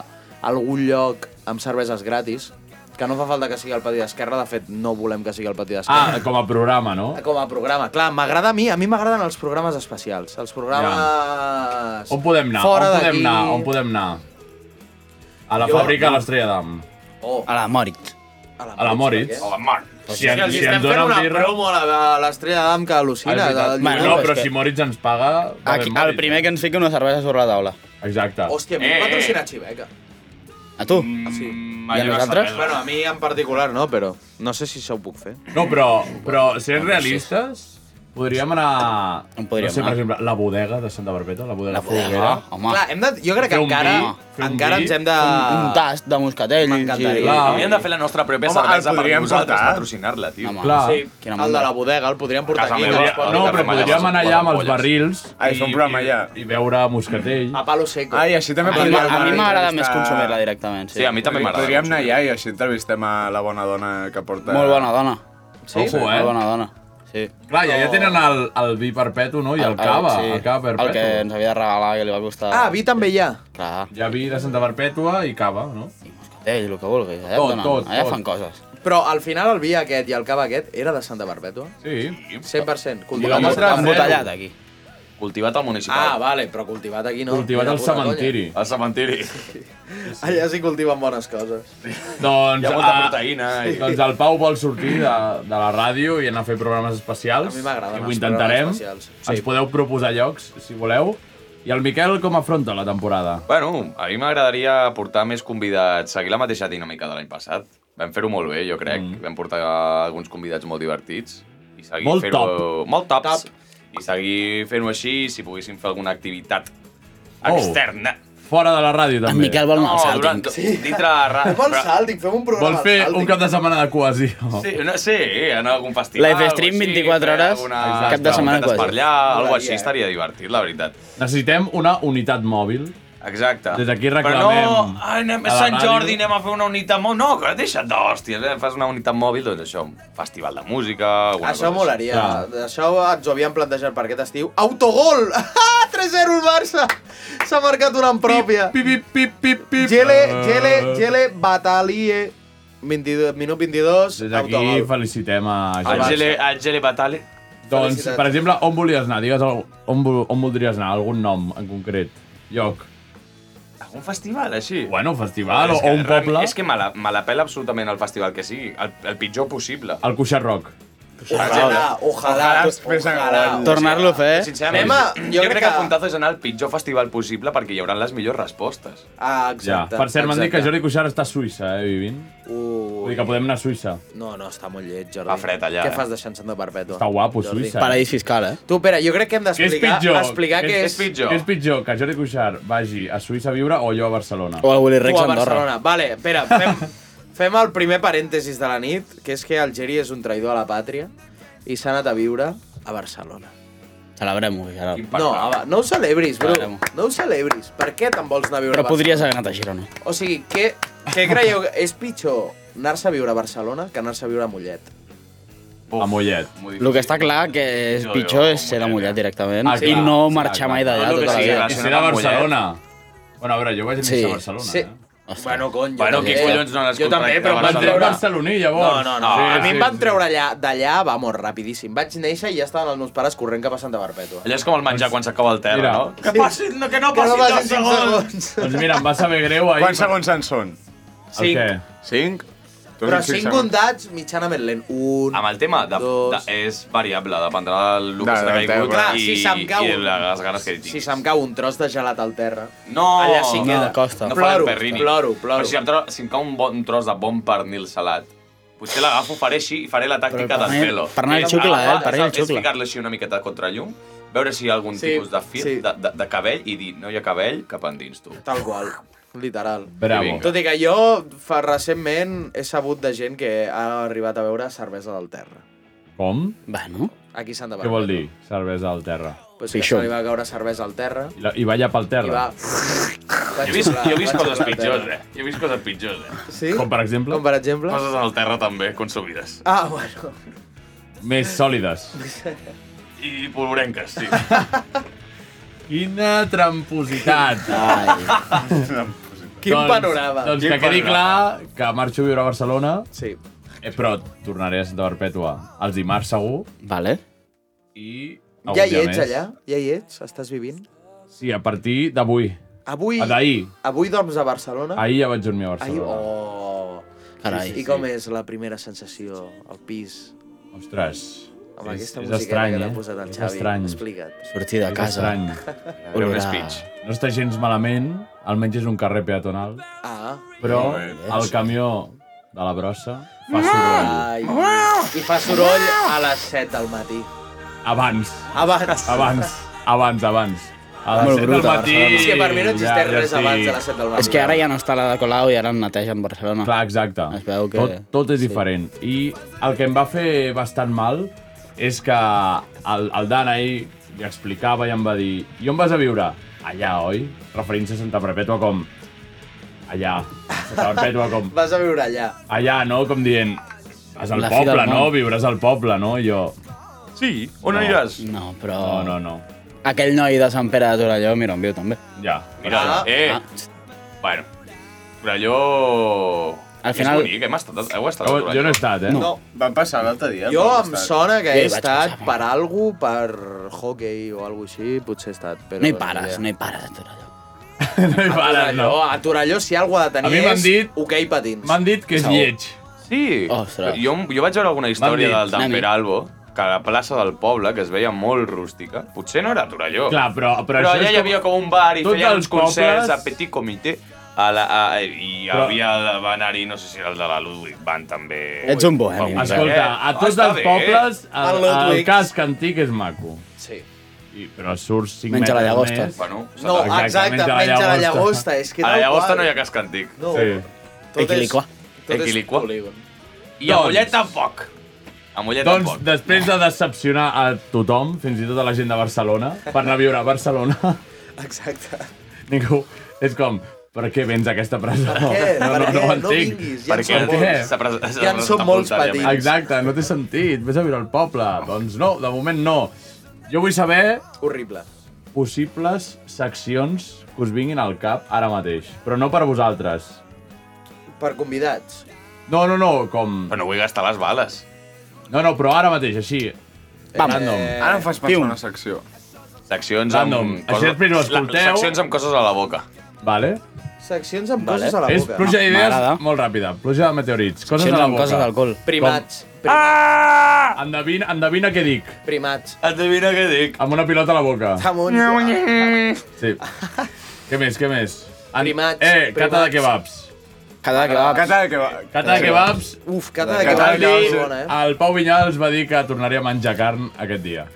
a algun lloc amb cerveses gratis, que no fa falta que sigui al pati d'esquerra, de fet, no volem que sigui al pati d'esquerra. Ah, com a programa, no? Com a programa, clar, m'agrada a mi, a mi m'agraden els programes especials, els programes... On podem anar? Fora on podem d'aquí. anar? On podem anar? A la Jo- fàbrica de l'Estrella d'Am. Oh, Ah, A la Moritz. A la Moritz. A la Moritz. Si, ens- si ens fent donen una birra... promo a la- a l'Estrella d'Am que al·lucina. Ah, és veritat. del- Bueno, no, però si Moritz ens paga... va bé, Aquí, el Moritz. eh? primer que ens fiqui una cervesa sobre la taula. Exacte. Hòstia, a mi Eh, em eh. patrocina Xiveca. A tu? Mm. Ah, Sí. I a nosaltres? Ah. Bueno, a mi en particular no, però no sé si això ho puc fer. No, però, però sent realistes, Podríem anar... On podríem no sé, anar? per exemple, la bodega de Santa Barbeta, la bodega, La bodega, Folguera. home. Clar, hem de- jo crec que Fer un encara- fer un encara vi. ens hem de- Un- Ah. un tast de moscatell. Sí, hauríem de fer la nostra pròpia Home, el cervesa per podríem nosaltres, portar. patrocinar-la, tio. Home, Clar. sí. Quina El de la bodega, el podríem portar Casa aquí. meva. que ens pot- No, que però fem allà podríem les- anar allà amb els les ampolles. barrils Ah, i fer un programa i, i veure moscatell. A palo seco. Ah, i així també A mi podríem... m'a- a mi m'agrada més consumir-la directament, sí. Sí, a mi també m'agrada Podríem anar allà i així entrevistem a la bona dona que porta... Molt bona dona. Sí? Ojo, eh? Molt bona dona. Sí. Clar, ja, ja tenen el, el vi perpetu, no? I el, cava, el, cava perpetu. Ah, El que ens havia de regalar, que li va costar... Ah, vi també hi ha. Clar. Hi ha vi de Santa Perpètua i cava, no? I moscatell, el que vulguis. Allà, Tot, et donen, tot, allà tot. fan coses. Però al final el vi aquest i el cava aquest era de Santa Barbètua? Sí. 100%. I la Cultivat mostra al embotellat, aquí. Cultivat al municipal. Ah, vale, però cultivat aquí no. Cultivat Mira, al puta cementiri. Al cementiri. conya. Allà s'hi cultiven bones coses. Doncs, Hi ha molta ah, proteïna eh? i- Doncs el Pau vol sortir de, de la ràdio i anar a fer programes especials. A mi m'agraden I els Ho intentarem. programes especials. Ens podeu proposar llocs, si voleu. I el Miquel com afronta la temporada? Bueno, a mi m'agradaria portar més convidats, seguir la mateixa dinàmica de l'any passat. Vam fer-ho molt bé, jo crec. Mm. Vam portar alguns convidats molt divertits. I seguir Molt fer-ho- top. Molt tops. I seguir fent-ho així, si poguéssim fer alguna activitat Oh. externa. Fora de la ràdio, també. Miquel vol anar al sàlting. Sí. Dintre la ràdio. Vol Però- sàlting, fem un programa Vol fer al sàlting. un cap de setmana de cohesió. Sí, no, sí, en algun festival. Live stream 24 hores, cap de setmana quasi. Per quasi. allà, alguna Molaria, eh? així estaria divertit, la veritat. Necessitem una unitat mòbil. Exacte. Des d'aquí Però reclamem... no, ah, anem a a la Sant ràdio. Jordi, anem a fer una unitat mòbil. No, que deixa't d'hòsties, eh? fas una unitat mòbil, doncs això, un festival de música... alguna cosa Això així. doncs, molaria. Això ens ho havíem plantejat per aquest estiu. Autogol! [LAUGHS] Ah, 3-0 el Barça! S'ha marcat una en pròpia. Pip, pip, pip, pip, pip. Ah. Gele, Gele, Gele, Batalie. 22, minut 22, Des d'aquí autogol. felicitem a... Àngele, Àngele Batale. Doncs, Felicitats. per exemple, on volies anar? Digues el- on, vol- on voldries anar, algun nom en concret. Lloc. Un festival, així. Bueno, festival o, És que o un realment- poble. És que me la, me la pela absolutament el festival que sigui, el, el pitjor possible. El Cuixar Rock. Ojalà, ojalà, ojalà. Tornar-lo a fer. Sincerament, Home, jo, crec que, el puntazo és anar al pitjor festival possible perquè hi haurà les millors respostes. Ah, Ja. exacte. Per cert, m'han dit que exacte. Jordi Cuixart està a Suïssa, eh, vivint. Ui. Vull dir que podem anar a Suïssa. No, no, està molt lleig, Jordi. Fa fred allà, Què eh? fas deixant Santa Perpètua? Està guapo, Jordi. Suïssa. Paradís fiscal, eh? Tu, Pere, jo crec que hem Què és d'explicar pitjor? explicar que és... Què és pitjor? Que Jordi Cuixart vagi a Suïssa a viure o jo a Barcelona? O al Willy Tu, a Barcelona. Vale, espera, [LAUGHS] fem, fem el primer parèntesis de la nit, que és que Algeri és un traïdor a la pàtria i s'ha anat a viure a Barcelona. Celebrem-ho, Gerard. No, a, Ba- no ho celebris, Bru. Celebrem-ho. No ho celebris. Per què te'n vols anar a viure Però a Barcelona? podries haver anat a Girona. O sigui, què, què creieu? que- És pitjor anar-se a viure a Barcelona que anar-se a viure a Mollet. A Mollet. El que està clar que és pitjor és ser de mullat directament i no marxar mai d'allà tota la vida. I ser de Barcelona. Bueno, a veure, jo vaig néixer Sí. a Barcelona. eh. Sí. Bueno, cony, jo eh? Bueno, també. qui collons no n'has Jo també, contractat però a em van Barcelona? treure... barceloní, llavors. No, no, no. Sí, a mi sí, em van sí. treure allà, d'allà, vamos, rapidíssim. Vaig néixer i ja estaven els meus pares corrent cap a Santa Perpètua. Allà és com el menjar quan s'acaba el terra, Mira. no? Que passi, no, que no Que no passi dos passin cinc segons. segons. Doncs mira, em va saber greu ahir. Quants segons en són? El què? Cinc? Tu Però has dit 5 segons. comptats, mitjanament lent. Un, Amb el tema de, de, és variable, dependrà del que s'ha del caigut terra. i, Clar, si se'm cau i un- les ganes que hi tinc. si se'm cau un tros de gelat al terra. No, allà sí queda. ploro, No faré el perrini. ploro, ploro. Però si em, tro si em cau un, bon, un tros de bon pernil salat, potser l'agafo, faré així i faré la tàctica Però del el pernil- pelo. pernil xucla, eh, el pernil és, xucla. És ficar-li així una miqueta contra llum, veure si hi ha algun Sí, tipus de fil sí. de, de, de cabell i dir, no hi ha cabell, cap endins, tu. Tal qual. Literal. Bravo. I vinga. Tot i que jo fa recentment he sabut de gent que ha arribat a veure cervesa del terra. Com? Bueno. Aquí s'han de Què vol dir, cervesa al terra? Pues que se li va caure cervesa al terra I, la, i balla pel i terra? va... Jo he vist, jo he vist coses pitjors, eh? Jo he vist coses pitjors, eh? Sí? Com per exemple? Com per exemple? Coses al terra també, consumides. Ah, bueno. Més sòlides. I polvorenques, [LAUGHS] sí. Quina trampositat. [LAUGHS] Quin panorama. Doncs Quin que quedi panorama. clar que marxo a viure a Barcelona, Sí. eh, però tornaré a Santa Perpètua els dimarts segur. Vale. I... algun Ja hi dia ets, més. allà? Ja hi ets? Estàs vivint? Sí, a partir d'avui. Avui... Ah, D'ahir. Avui dorms a Barcelona? Ahir ja vaig dormir a Ahir, Barcelona. oh... Carai, I, I com és la primera sensació al pis? Ostres. Amb és- és aquesta musiqueta estrany, que t'ha eh? posat el És Xavi. estrany. Explica't. Sortir de És casa. estrany. Veure un speech. No està gens malament, almenys és un carrer peatonal, Ah. però Molt bé. el camió de Ah! la brossa fa soroll. Ai, I fa soroll a les 7 del matí. Abans. Abans. Abans. Abans, abans. A les Molt 7 brut, del matí... abans. És que per mi no existeix res abans de les estic. set del matí. És que ara ja no està la de Colau i ara en netegen Barcelona. Clar, exacte. Es veu que... Tot, tot és diferent. I el que em va fer bastant mal és que el, el Dan ahir li explicava i em va dir i on vas a viure? Allà, oi? Referint-se a Santa Perpètua com... Allà. Santa Perpètua com... Vas a viure allà. Allà, no? Com dient... Vas al La fi poble, del món. no? Viuràs al poble, no? I jo... Sí, on no. aniràs? No, però... No, no, no. Aquell noi de Sant Pere de Torelló, mira on viu, també. Ja. Mira, Ah. eh! Ah. Bueno, Torelló... Ah, Al final- És bonic, hem estat, heu estat a Jo- Torelló. jo no he estat, eh? No. Van passar l'altre dia. Jo vam em estar. sona que he Eh, Jo hi vaig estat per algú, per hockey o alguna així, potser he estat. Però No hi pares, no hi pares a Torelló. no Ah, hi pares, no. A Torelló, si alguna ha de A mi tenir m'han és dit- hoquei patins. M'han dit que és Segur. lleig. Sí. Ostres. Jo, jo vaig veure alguna història M'han dit. del d'en Una mica. Peralbo, que a la plaça del poble, que es veia molt rústica, potser no era a Torelló. Clar, però- però però això allà és hi com- havia com un bar i Tots feien els uns concerts pobles- a petit comitè. A la, a, I Però- havia de va anar-hi, no sé si era el de la Ludwig Van també. Ets un bohemi. Va, Escolta, a eh, tots està els bé. pobles el, Ludwig. el casc antic és maco. Sí. I, però surts 5 Menja la metres llagosta. més. Bueno, No, exacte, menja la llagosta, és que A la tal llagosta qual. no hi ha casc antic. No. Sí. Tot és- Equiliqua. tot és Equiliqua. polígon. I a Mollet tampoc. A Mollet Doncs, tampoc. després de decepcionar a tothom, fins i tot a la gent de Barcelona, per anar a viure a Barcelona, [LAUGHS] Exacte. ningú... És com, per què vens a aquesta presó? Per què? No, Per no, què? no ho No entenc. vinguis, ja en som molts. Per Ja què? en som S'apunta molts ja patins. més. Exacte, no té sentit. Vés a viure al poble. Doncs no, de moment no. Jo vull saber Horrible. possibles seccions que us vinguin al cap ara mateix, però no per vosaltres. Per convidats. No, no, no, com... Però no vull gastar les bales. No, no, però ara mateix, així. Pam. Random. Eh, Ara em fas pensar una secció. Seccions Random. amb... Així després ho La- escolteu. Seccions amb coses a la boca. Vale? Seccions amb vale. coses a la És boca. pluja d'idees molt ràpida. Pluja de meteorits. Coses Seccions a la amb boca. coses d'alcohol. Primats. Ah! Endevina, endevina què dic. Primats. Endevina què dic. Amb una pilota a la boca. Jamons. [LAUGHS] Sí. què més, què més? En... Primats, Eh, cata de primats. kebabs. Cada que va... Cata de kebab. Cata Eh. de kebabs. Uf, cada de Cata de kebab és kebabs. bona, eh? El Pau Vinyals va dir que tornaria a menjar carn aquest dia.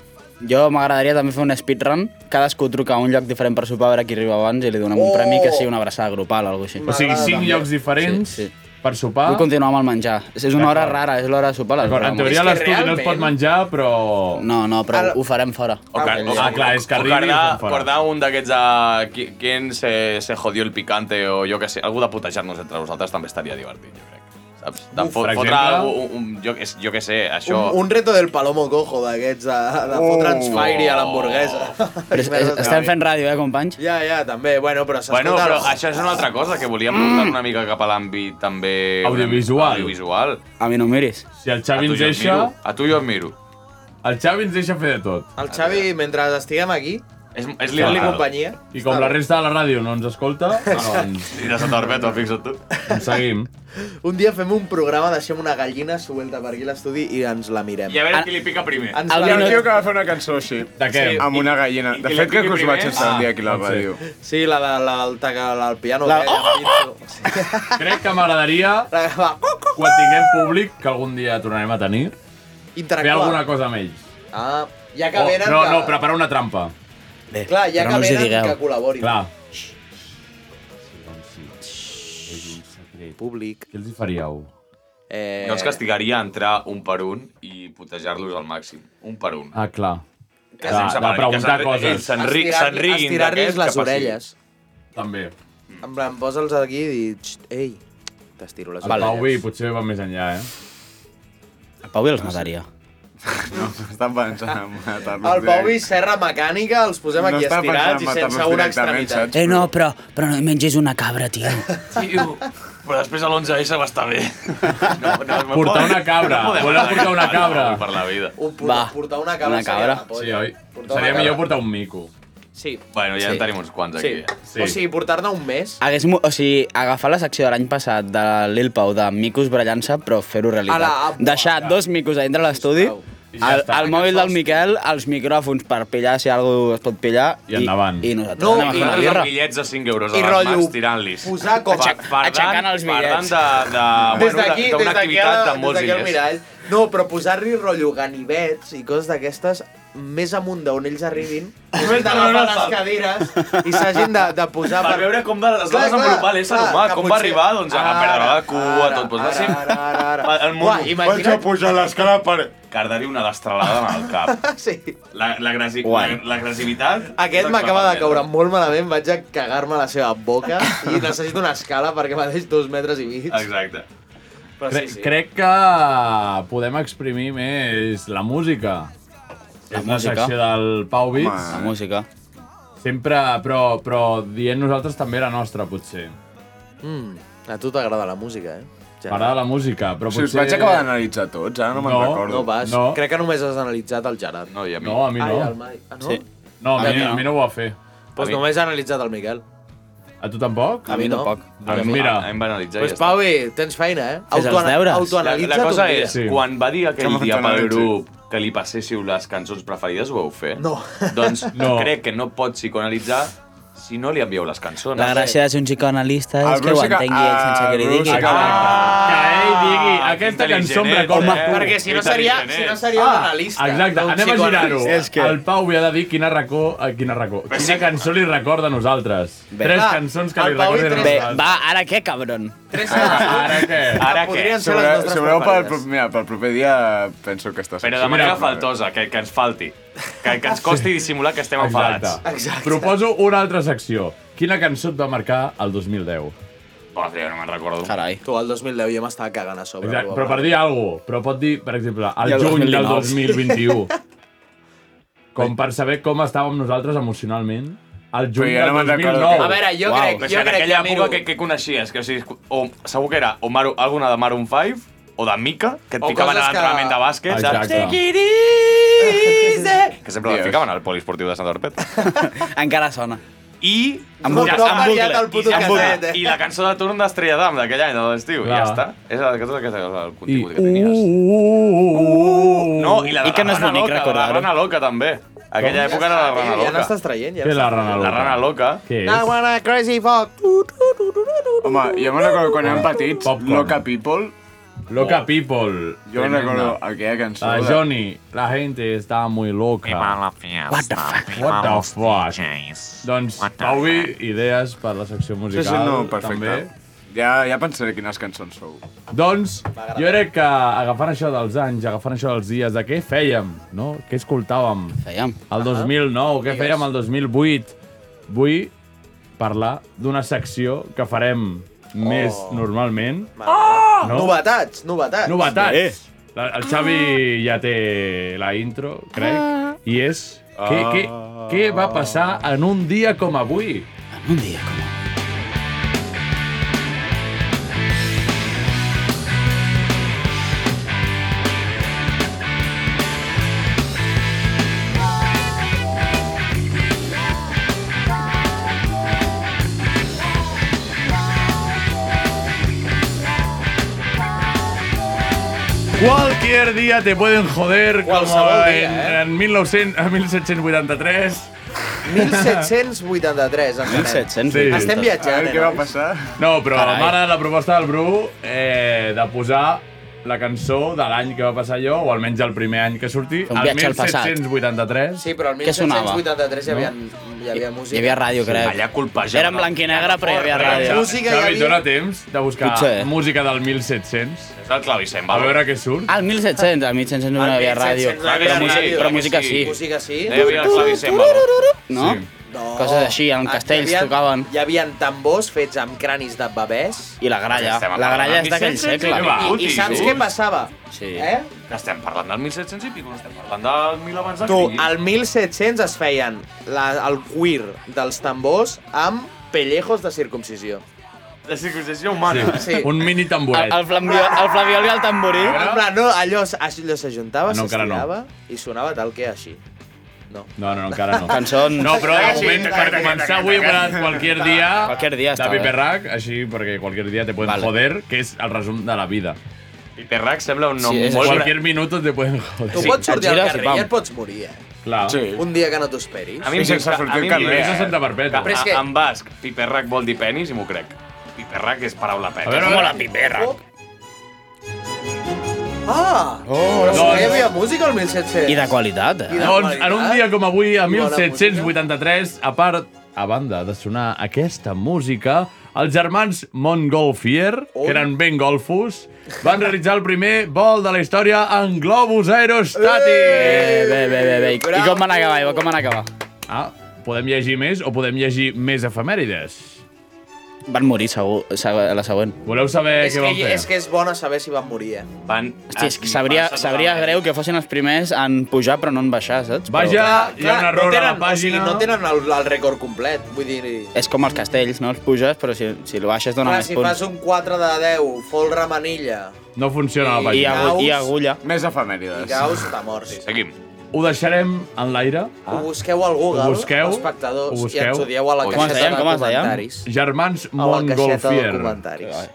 Jo m'agradaria també fer un speedrun. Cadascú truca a un lloc diferent per sopar a veure qui arriba abans i li donem Oh! un premi que sigui una abraçada grupal o alguna cosa així. O sigui, cinc llocs diferents Sí, per sopar. Vull continuar amb el menjar. És una hora Ah. D'acord. rara, és l'hora de sopar. a les D'acord, en hores de teoria menjar. l'estudi no es pot menjar, però... No, no, però ho farem fora. O car- o- Ah, clar, és que o arribi i guardar- se'n fora. guardar un d'aquests a... qui- Quien se, se jodió el picante o jo que sé. Algú de putejar-nos entre vosaltres també estaria divertit, jo crec. Saps? De Uf, fot, per fotre exemple. algú, un, un, jo, que- jo que sé, Un, això... un reto del Palomo Cojo, d'aquests, de, de fotre'ns Oh. fire a l'hamburguesa. [LAUGHS] Però és, és, estem fent ràdio, eh, companys? Ja, ja, també. Bueno, però s'escolta... Bueno, però el- això és una altra cosa, que volíem Mm. portar una mica cap a l'àmbit també... Audiovisual. Audiovisual. A mi no em miris. Si el Xavi tu ens jo et deixa... miro, A tu jo et miro. El Xavi ens deixa fer de tot. El Xavi, mentre estiguem aquí, És, és fent-li liberal. companyia... I com la resta de la ràdio no ens [LAUGHS] escolta, doncs I de Santa Barbeto, fixa't tu. ens seguim. Un dia fem un programa, deixem una gallina suelta per aquí a l'estudi i ens la mirem. I a veure [LAUGHS] qui li pica primer. Ens Hi ha la un mirem. tio que va fer una cançó així. De què? Ah, Sí. Amb una gallina. I- De i fet, la crec que us piqui vaig primer. ensenyar un dia aquí a la pot ser. ràdio. Sí, la de la, el, taca, la, el piano. La- La... Que, oh, oh, oh! Sí. Crec que m'agradaria, La que va... Oh, oh. quan tinguem públic, que algun dia tornarem a tenir, fer Interactuar. alguna cosa amb ells. Ah, ja que O, venen... no, que... no, preparar una trampa. Bé, Clar, ja però que no us hi venen, que digueu. col·laborin. Clar. Públic. Què els hi faríeu? Eh... Jo els castigaria a entrar un per un i putejar-los al màxim. Un per un. Ah, clar. Que De, sense de parar, preguntar que s'enri- coses. s'enri- Estirar-li- S'enriguin Estirar-los d'aquests les que passi. orelles. També. En plan, posa'ls aquí i dir... "Xt, Ei, t'estiro les El orelles. Pau i potser va més enllà, eh? El Pau i els mataria. No, estan pensant en matar-los. El Pau i serra mecànica, els posem No aquí estava pensant en estirats i sense matar-los una directament, extremitat. saps? Eh, no, però, però no hi mengis una cabra, tio. Tio, però després a l'11S va [LAUGHS] estar bé. No, no, no Portar una cabra. podem Voleu parlar portar una d'aquest cabra? mal Per la vida. Un pur- Va, portar una cabra, una cabra. seria Sí, oi? Portar una Seria cabra. millor portar un mico. Sí. Bueno, ja Sí. en tenim uns quants sí. aquí. Sí. O sigui, portar-ne un mes [LAUGHS] Hagués, mo- o sigui, agafar la secció de l'any passat de Lil Pau de micos barallant-se, però fer-ho realitat. Ala, ah, apa, Deixar dos micos a dintre l'estudi, I ja el, està. el mòbil del Miquel, els micròfons per pillar si algú es pot pillar. I endavant. I, i nosaltres No, no, I anem a fer una nosaltres amb birra. bitllets de 5 I euros a les rotllo, mans tirant-lis. posar com a- Fardant- aixecant els Fardant bitllets. de, de, des Ah, bueno, d'aquí, d'una des d'aquí activitat a- de des molts d'aquí al diners. mirall. No, però posar-li rotllo ganivets i coses d'aquestes més amunt d'on ells arribin, Més s'hagin amunt d'agafar al les salt. cadires i s'hagin de, de posar... Per veure com va- es Clar, va clar, desenvolupar l'ésser clar, humà, que com va arribar, doncs, a Ara, perdre la cua, tot, doncs, va ara, ser- Ara, ara, ara. El món... Uah, imagina't... pujar l'escala per... Cardari una destralada amb el [LAUGHS] cap. Sí. La- L'agresi- Guai. la- L'agressivitat... Aquest m'acaba de caure molt malament, vaig a cagar-me a la seva boca i necessito una escala perquè me deix dos metres i mig. Exacte. Ah, Però Crec, sí, sí. crec que podem exprimir més la música. La és música. la secció del Pau Bits. Home. La música. Sempre, però, però dient nosaltres també la nostra, potser. Mm, a tu t'agrada la música, eh? Ja. M'agrada la música, però Si us potser... vaig acabar d'analitzar tots, ara no me'n No, recordo. No vas, No. no. crec que només has analitzat el Gerard. No, i a No, a mi no. Ai, el Mike. Ah, no? Sí. No, a, Ah, mi, mira. a mi no ho va fer. Pues A mi- només ha analitzat el Miquel. A tu tampoc? A mi no. tampoc. Doncs mira, Em van analitzar Doncs pues, Pauvi, tens feina, eh? Autoana- Autoanalitza't La, la cosa un dia. és, sí. quan va dir aquell Que dia pel m'autoanalitzi. grup que li passéssiu les cançons preferides, ho vau fer? No. Doncs [LAUGHS] No. no. crec que no pot psicoanalitzar si no li envieu les cançons. La gràcia de ser un psicoanalista és que ho entengui ell sense que li digui. Ah! ell digui, Ah, aquesta cançó em recorda... eh? Perquè si no seria, si no seria un analista. Ah, Exacte, no un anem a girar-ho. psicoanalista. Que... El Pau havia de dir quina racó, eh, quina racó, quina cançó li recorda a nosaltres. Tres cançons que li recorden a Bé, nosaltres. va, ara què, cabron? Ara [LAUGHS] què? Ara què? Si veureu, si veureu pel, pro- mira, pel proper dia penso que està Però de sense- manera Mira, faltosa, que, que ens falti. Que, que ens costi dissimular que estem enfadats. Exacte. Proposo una altra secció. Quina cançó et va marcar el 2010? Podria, no me'n recordo. Carai. Tu, el 2010 ja m'estava cagant a sobre. Exacte, però per dir alguna cosa, però pot dir, per exemple, el, I el juny del 2019. 2021. [LAUGHS] com per saber com estàvem nosaltres emocionalment el juny Però jo no me'n del 2009. recordo que- A veure, jo crec- Però és jo que en crec aquella que època miro- que, que coneixies, que o sigui, o, segur que era o Maru, alguna de Maroon 5, o de Mica, que et O ficaven a coses que- l'entrenament de bàsquet, saps? Exacte. Take Que sempre la ficaven al poliesportiu de Sant Orpet. [LAUGHS] Encara sona. I... Amb bucle, Ja- amb amb bucle. bucle. I, amb casset, bucle. I la cançó de turn d'Estrella d'Am d'aquell any, de l'estiu. I ja Clar. està. És la cançó que és el contingut I... que tenies. tenies. No, i la de Uh. I que no la Rana és bonic Loca, la recordar-ho. Rana Loca, també. Aquella època era la Rana Ja Loca. n'estàs traient, ja Què és la n'estàs Rana traient. Loca? La Rana Loca. Què Now when I crazy fuck. Home, jo me'n recordo quan érem petits, Loca People. Loca People. Jo me'n Tremenda. recordo aquella cançó. La de- Johnny, la gente está muy loca. What the fuck? What the fuck? Doncs, Pauvi, idees per la secció musical, Sí, sí, no, perfecte. també. Ja, ja pensaré quines cançons sou. Doncs, jo crec que agafant això dels anys, agafant això dels dies, de què fèiem, no? Què escoltàvem? Fèiem. El 2009, què fèiem el 2008? Vull parlar d'una secció que farem més normalment. Oh! No? Novetats, novetats. Novetats! La, el Xavi ja té la intro, crec, Ah. i és... Què, Ah. què, què va passar en un dia com avui? En un dia com avui. Cualquier día te pueden joder com Qualsevol en, dia, eh? eh? en 1900, en 1783. 1783, entenem. 1700. Sí. Estem viatjant, eh, A veure què va nois? passar. No, però Carai. m'agrada la proposta del Bru eh, de posar la cançó de l'any que va passar allò, o almenys el primer any que sortí, Un viatge al passat. 1783. Sí, però el Què sonava? 1783 hi havia, hi havia música. Hi havia ràdio, crec. Allà colpejava. Era en blanc i negre, però hi havia ràdio. Música hi Xavi, havia. dona temps de buscar Potser. música del 1700. És el clavicem, A veure què surt. Al 1700, al 1700 no hi havia ràdio. no hi havia Però, música, ràdio. però música sí. Música sí. No hi havia el clavicèmbal. No? No. Coses així, en Ah, castells hi havia- tocaven. Hi havia tambors fets amb cranis de bebès. I la gralla. Estem La gralla parlant és d'aquell del segle. 1700, va, I, I saps sí. què passava? Sí. Eh? Que estem parlant del 1700 i pico, no estem parlant del 1000 abans de Tu, Crist. al 1700 es feien la, el cuir dels tambors amb pellejos de circumcisió. La circumcisió humana. Sí. Un mini tamboret. El, el flambiol, el flabiol i el tamborí. En plan, no, allò, s- allò s'ajuntava, No, encara no. s'estirava i sonava tal que així. No, no, no, encara no. Cançons. No, però de Ah, sí, moment, taca, per taca, començar, taca, avui hem taca. parlat qualquier dia, Qualquier dia de Ah, està bé. Piper Rack, així, perquè qualquier dia te pueden Vale. joder, que és el resum de la vida. Piper Rack sembla un nom Sí, és molt... Cualquier minuto te pueden joder. Tu pots sortir al carrer i et pots morir, eh? Clar. Sí. Un dia que no t'ho esperis. A mi em sense sembla... sortir al carrer, eh? Santa Perpètua. Però és que- que... En basc, piperrac vol dir penis i m'ho crec. Piperrac és paraula penis. A veure, a veure. piperrac. Ah! Oh, però si no doncs- hi havia música al 1700. I de qualitat, eh? Doncs, en un dia com avui, a I bona 1783, a part, a banda de sonar aquesta música, els germans Montgolfier, que eren ben golfos, van realitzar el primer vol de la història en globus aerostàtic. Bé, bé, bé, bé. I com van acabar, Ivo? Com van acabar? Ah, podem llegir més o podem llegir més efemèrides? Van morir, segur, seg- la següent. Voleu saber És que, és que és bona saber si van morir, eh? Van... Hosti, és que sabria, sabria greu que fossin els primers en pujar però no en baixar, saps? Però- O sigui, no tenen el, el rècord complet. Vull dir, És com els castells, no? Els puges, però si, si el baixes dona clar, més si punts. fas un 4 de 10, folre manilla, No funciona la I, pàgina. agu I agulla. Més Ah, efemèrides. gaus, t'ha mort. Sí, seguim. Ho deixarem en l'aire. Ho busqueu al Google, Ho busqueu, espectadors, ho busqueu. i ens ho dieu a la Com caixeta es deien, de com es deien? comentaris. Germans A la caixeta de Montgolfier. comentaris. A la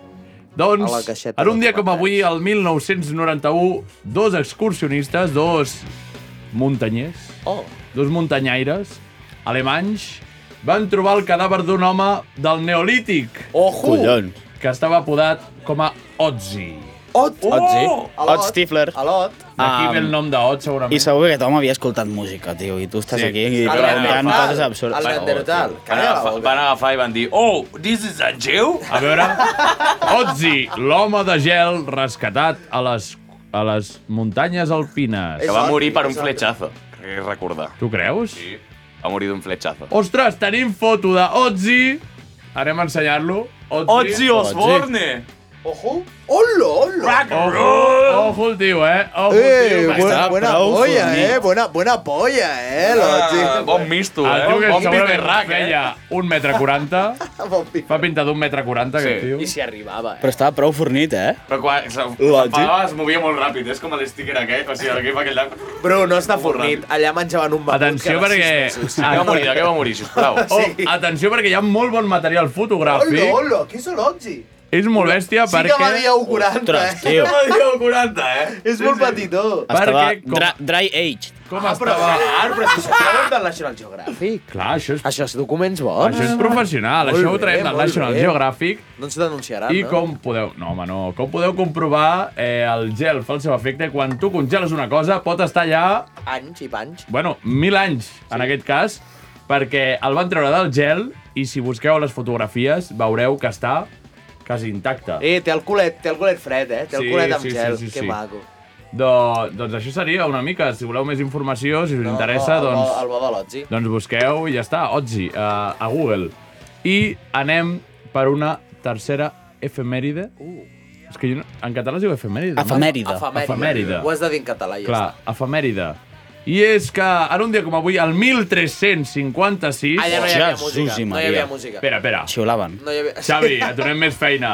Doncs, caixeta en un dia com avui, el 1991, dos excursionistes, dos muntanyers, oh. dos muntanyaires, alemanys, van trobar el cadàver d'un home del Neolític. Ojo! Collons. Que estava apodat com a Otzi. Ot! Otzi. Alot. Ot Stifler. Alot. D'aquí ve el nom de Ot, segurament. I segur que aquest home havia escoltat música, tio, i tu estàs Sí. aquí i El preguntant Neandertal, coses absurdes. el Neandertal. Van agafar, van agafar i van dir, oh, this is a Jew? A veure, Otzi, l'home de gel rescatat a les, a les muntanyes alpines. Que va morir per un fletxazo, crec recordar. Tu creus? Sí, va morir d'un fletxazo. Ostres, tenim foto de Otzi. Anem a ensenyar-lo. Ozzy Osbourne! Ojo! Hola, hola! Ojo, ojo el tio, eh? Ojo el tio. que està prou fornit. eh, Buena, buena polla, eh, Ah, bon misto, El eh? tio que Bon misto segurament berrac, eh? feia un metre quaranta. Fa pinta d'un metre quaranta, aquest tio. I si arribava, eh? Però estava prou fornit, eh? Però quan s'apagava es movia molt ràpid, és com l'estíquer aquest, o sigui, el gif aquell... de- Bro, no està fornit. Allà menjaven un mamut Atenció cada perquè... sis mesos. Què va morir, de què va morir, sisplau? Oh, atenció perquè hi ha molt bon material fotogràfic. Hola, hola, qui és l'Otzi? És molt bèstia Sí perquè... que va dir a 40, Ostres, eh? Sí tio. que va dir a 40, eh? És molt petitó. Estava Perquè com- dra dry aged. Com Ah, però, estava... clar, però si s'ho treuen del National Geographic. Clar, això és, Això és documents bons. això és professional, Molt això ho bé, traiem del molt National bé. Geographic No ens denunciaran, I no? com podeu... No, home, no. Com podeu comprovar, eh, el gel fa el seu efecte. Quan tu congeles una cosa, pot estar allà, Anys i panys. bueno, mil anys, en aquest cas, perquè el van treure del gel i si busqueu les fotografies veureu que està quasi intacte. Eh, té el culet, té el culet fred, eh? Té el Sí, culet amb sí, sí, gel, sí, que sí. maco. Do, doncs això seria una mica. Si voleu més informació, si us interessa, el bo- doncs... El bo de l'Otzi. Doncs busqueu i ja està, Otzi, a, a Google. I anem per una tercera efemèride. Uh. És que jo no, en català es diu efemèride. no? Efemèride. Efemèride. Efemèride. Ho has de dir en català, ja Clar, efemèride. I és que en un dia com avui, el 1356... està. Allà no hi havia Jesús música. No i hi Maria. havia música. Espera, espera. Xiulaven. No hi havia... Xavi, et donem més feina.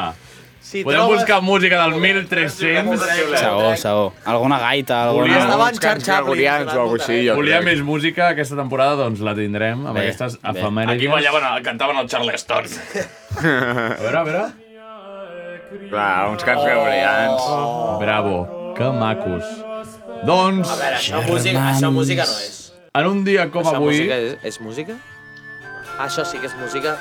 Si Podem trobes- buscar música del 1300? Segur, segur. Alguna gaita, Volia- alguna... Estava en Charles Chaplin. gregorians o alguna així, jo Volia crec. més música aquesta temporada, doncs la tindrem amb Bé, aquestes bé. efemèrides. Aquí ballaven, el- cantaven el Charleston. A veure, a veure. Clar, uns cants gregorians. Bravo, que macos. Doncs, A veure, això música, això música no és. en un dia com Això avui... música és, és música? Això sí que és música.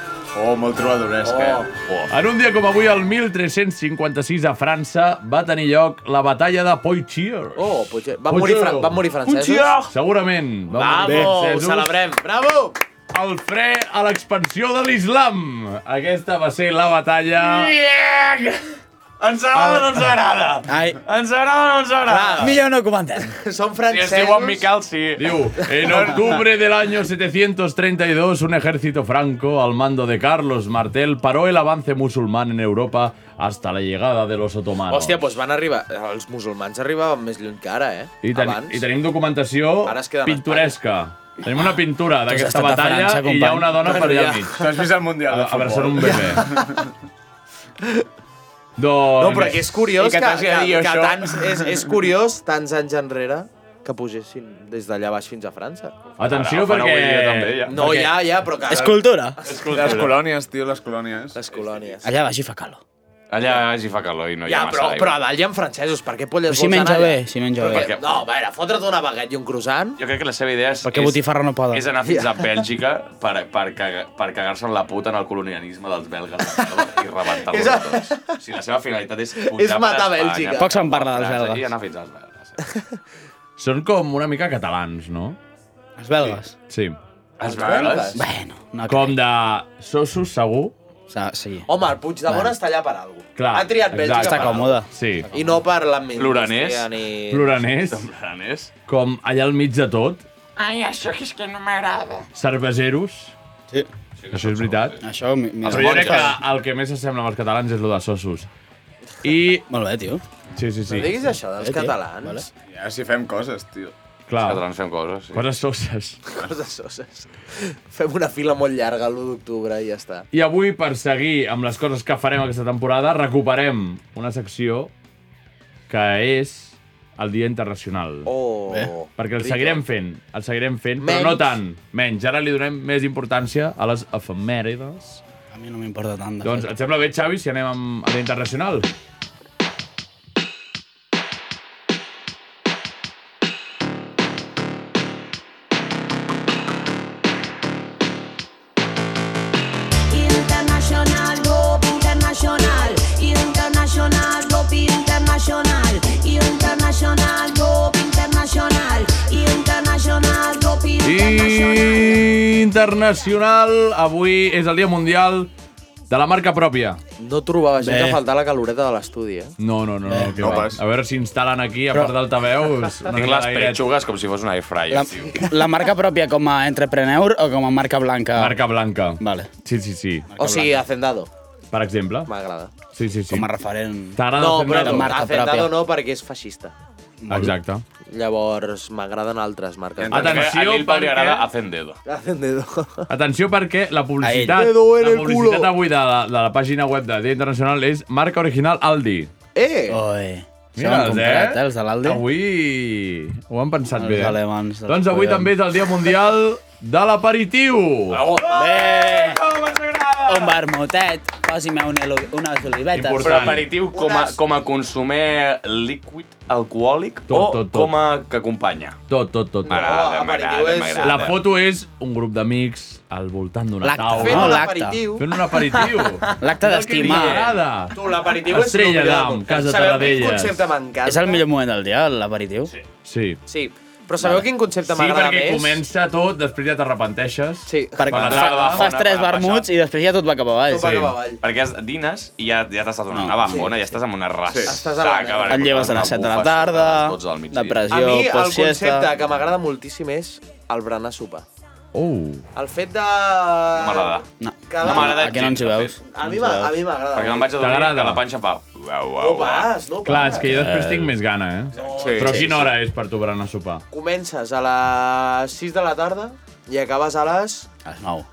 Oh, molt trobadoresca. Oh. eh? En un dia com avui, el 1356, a França, va tenir lloc la batalla de Poitiers. Oh, potser... Van morir, fra... van morir francesos? Segurament. Va morir Bravo, ho francesos. celebrem. Bravo! [LAUGHS] El fre a l'expansió de l'islam. Aquesta va ser la batalla... Yeah! Ens agrada o no ens agrada? Ai, Ens agrada o no ens agrada? millor no comentem. Són Si francesos. es diu en Miquel, sí. Diu, en octubre del año 732, un ejército franco al mando de Carlos Martel paró el avance musulmán en Europa hasta la llegada de los otomanos. Hòstia, doncs van arribar... Els musulmans arribaven més lluny que ara, eh? I, ten Abans. I tenim documentació Ara es queden a pintoresca. Tenim una Doncs pintura d'aquesta estat a batalla França, i hi ha company. una dona per allà al mig. Tu has vist el Mundial de Futbol? Abraçant un bebè. [LAUGHS] doncs... No, però que és curiós I que que, que, t'hagi de dir que, això. tants, és, és curiós tants anys enrere que pugessin des d'allà baix fins a França. Atenció, Agafen perquè... avui dia també, ja. No, ja, ja, però que... És cultura. Les colònies, tio, les colònies. Les colònies. Allà baix hi fa calor. Allà hagi fa calor i no hi ha ja, massa però, aigua. però a dalt hi ha francesos, per què polles Però si vols menja anar bé, allà? si menja Però bé. que- No, a veure, fotre't una baguette i un croissant... Jo crec que la seva idea és... Perquè és- botifarra no poden. És anar fins a Ja. Bèlgica per, per, caga- per cagar-se en la puta en el colonialisme dels belgues i rebentar-los És a a- tots. O sigui, la seva finalitat és És pujar matar per Espanya. Bèlgica. per Poc se'n parla dels França, belgues. I anar fins als belgues. [LAUGHS] Són com una mica catalans, no? Els belgues? Sí. Els belgues? Bueno, no com de sossos, segur. sí. Home, el Puigdemont Clar. està allà per alguna cosa. Clar, ha triat Bèlgica exacte. per alguna cosa. Sí. I no per l'administració Ploraners. ni... Ploraners. Ploraners. Com allà al mig de tot, Ai, això és que no m'agrada. cerveseros. Sí. Això és veritat. Això, mi- mira, Però jo crec que Monja. el que més s'assembla als catalans és el de sossos. I... Molt bé, tio. Sí, sí, sí. Eh, Ja, si fem coses, tio. Clar. Els catalans fem coses, sí. Coses soses. [LAUGHS] Coses soses. Fem una fila molt llarga l'1 d'octubre i ja està. I avui, per seguir amb les coses que farem aquesta temporada, recuperem una secció que és el Dia Internacional. Oh, Bé. Perquè el rico. seguirem fent, el seguirem fent, menys. però no Menys. tant, menys. Ara li donem més importància a les efemèrides. A mi no m'importa tant. de Doncs fet. et sembla bé, Xavi, si anem amb el Dia Internacional? Internacional, Globo Internacional, Internacional, Globo Internacional, Internacional, Globo Internacional, Internacional, Globo Internacional, avui és el Dia Mundial de la marca pròpia. No trobava gent Bé. que faltava la caloreta de l'estudi, eh? No, no, no. no, que no va. pas. A veure si instal·len aquí, a part d'altaveus... una Tinc mica les d'airet. petxugues com si fos una air fryer, La, tio. la marca pròpia com a entrepreneur o com a marca blanca? Marca blanca. Vale. Sí, sí, sí. O sigui, Hacendado. Per exemple. M'agrada. Sí, sí, sí. Com a referent. T'agrada Ah, No, Hacendado? però Hacendado no, perquè és feixista. Exacte. Llavors, m'agraden altres marques. Ah, Atenció, a Bilbao li perquè- agrada Hacendedo. Hacendado. Atenció perquè la publicitat, Ahí. Me duele la el publicitat culo. avui de la, de la pàgina web de Dia Internacional és marca original Aldi. Eh! Oi. Se l'han Mira'ls, comprat, eh? els de l'Aldi. Avui ho han pensat Els bé. eh? alemans dels Doncs avui collons. també és el Dia Mundial de l'Aperitiu. Bé! Un vermutet, posi'm un elo- unes olivetes. Però aperitiu com a, com a consumer líquid alcohòlic o tot, tot. com a que acompanya? Tot, tot, tot. M'agrada, m'agrada, m'agrada. La foto és un grup d'amics al voltant d'una L'acte, taula. fent un L'acte. aperitiu. Fent un aperitiu. [LAUGHS] L'acte d'estimar. M'agrada. Tu, l'aperitiu és... Estrella el millor del d'Am, món. Casa Sabeu quin Tarradellas. concepte m'encanta? És el millor moment del dia, l'aperitiu? Sí. Sí. Sí, però sabeu quin concepte Sí, m'agrada perquè més? comença tot, després ja t'arrepenteixes. Sí. Per la tarda. Fas tres vermuts i després ja tot va cap avall. Sí. Perquè has- dines i ja, ja t'estàs donant una bambona, ja estàs amb una ras. Sí. Estàs a la merda. Et lleves a les set de la tarda, A depressió, mi el concepte postgesta... que m'agrada moltíssim és el berenar sopar. Oh. El fet de... M'agrada. No. Cada- No m'agrada Aquí no ens hi veus. A mi m'a- a mi m'agrada. Perquè me'n vaig adonar T'agrada? que la panxa fa... Uau, uau, No pas, no Clar, pas. és que jo després tinc més gana, eh? Sí, Però sí, quina sí. hora és per tu berenar a sopar? Comences a les 6 de la tarda i acabes a les A les 9.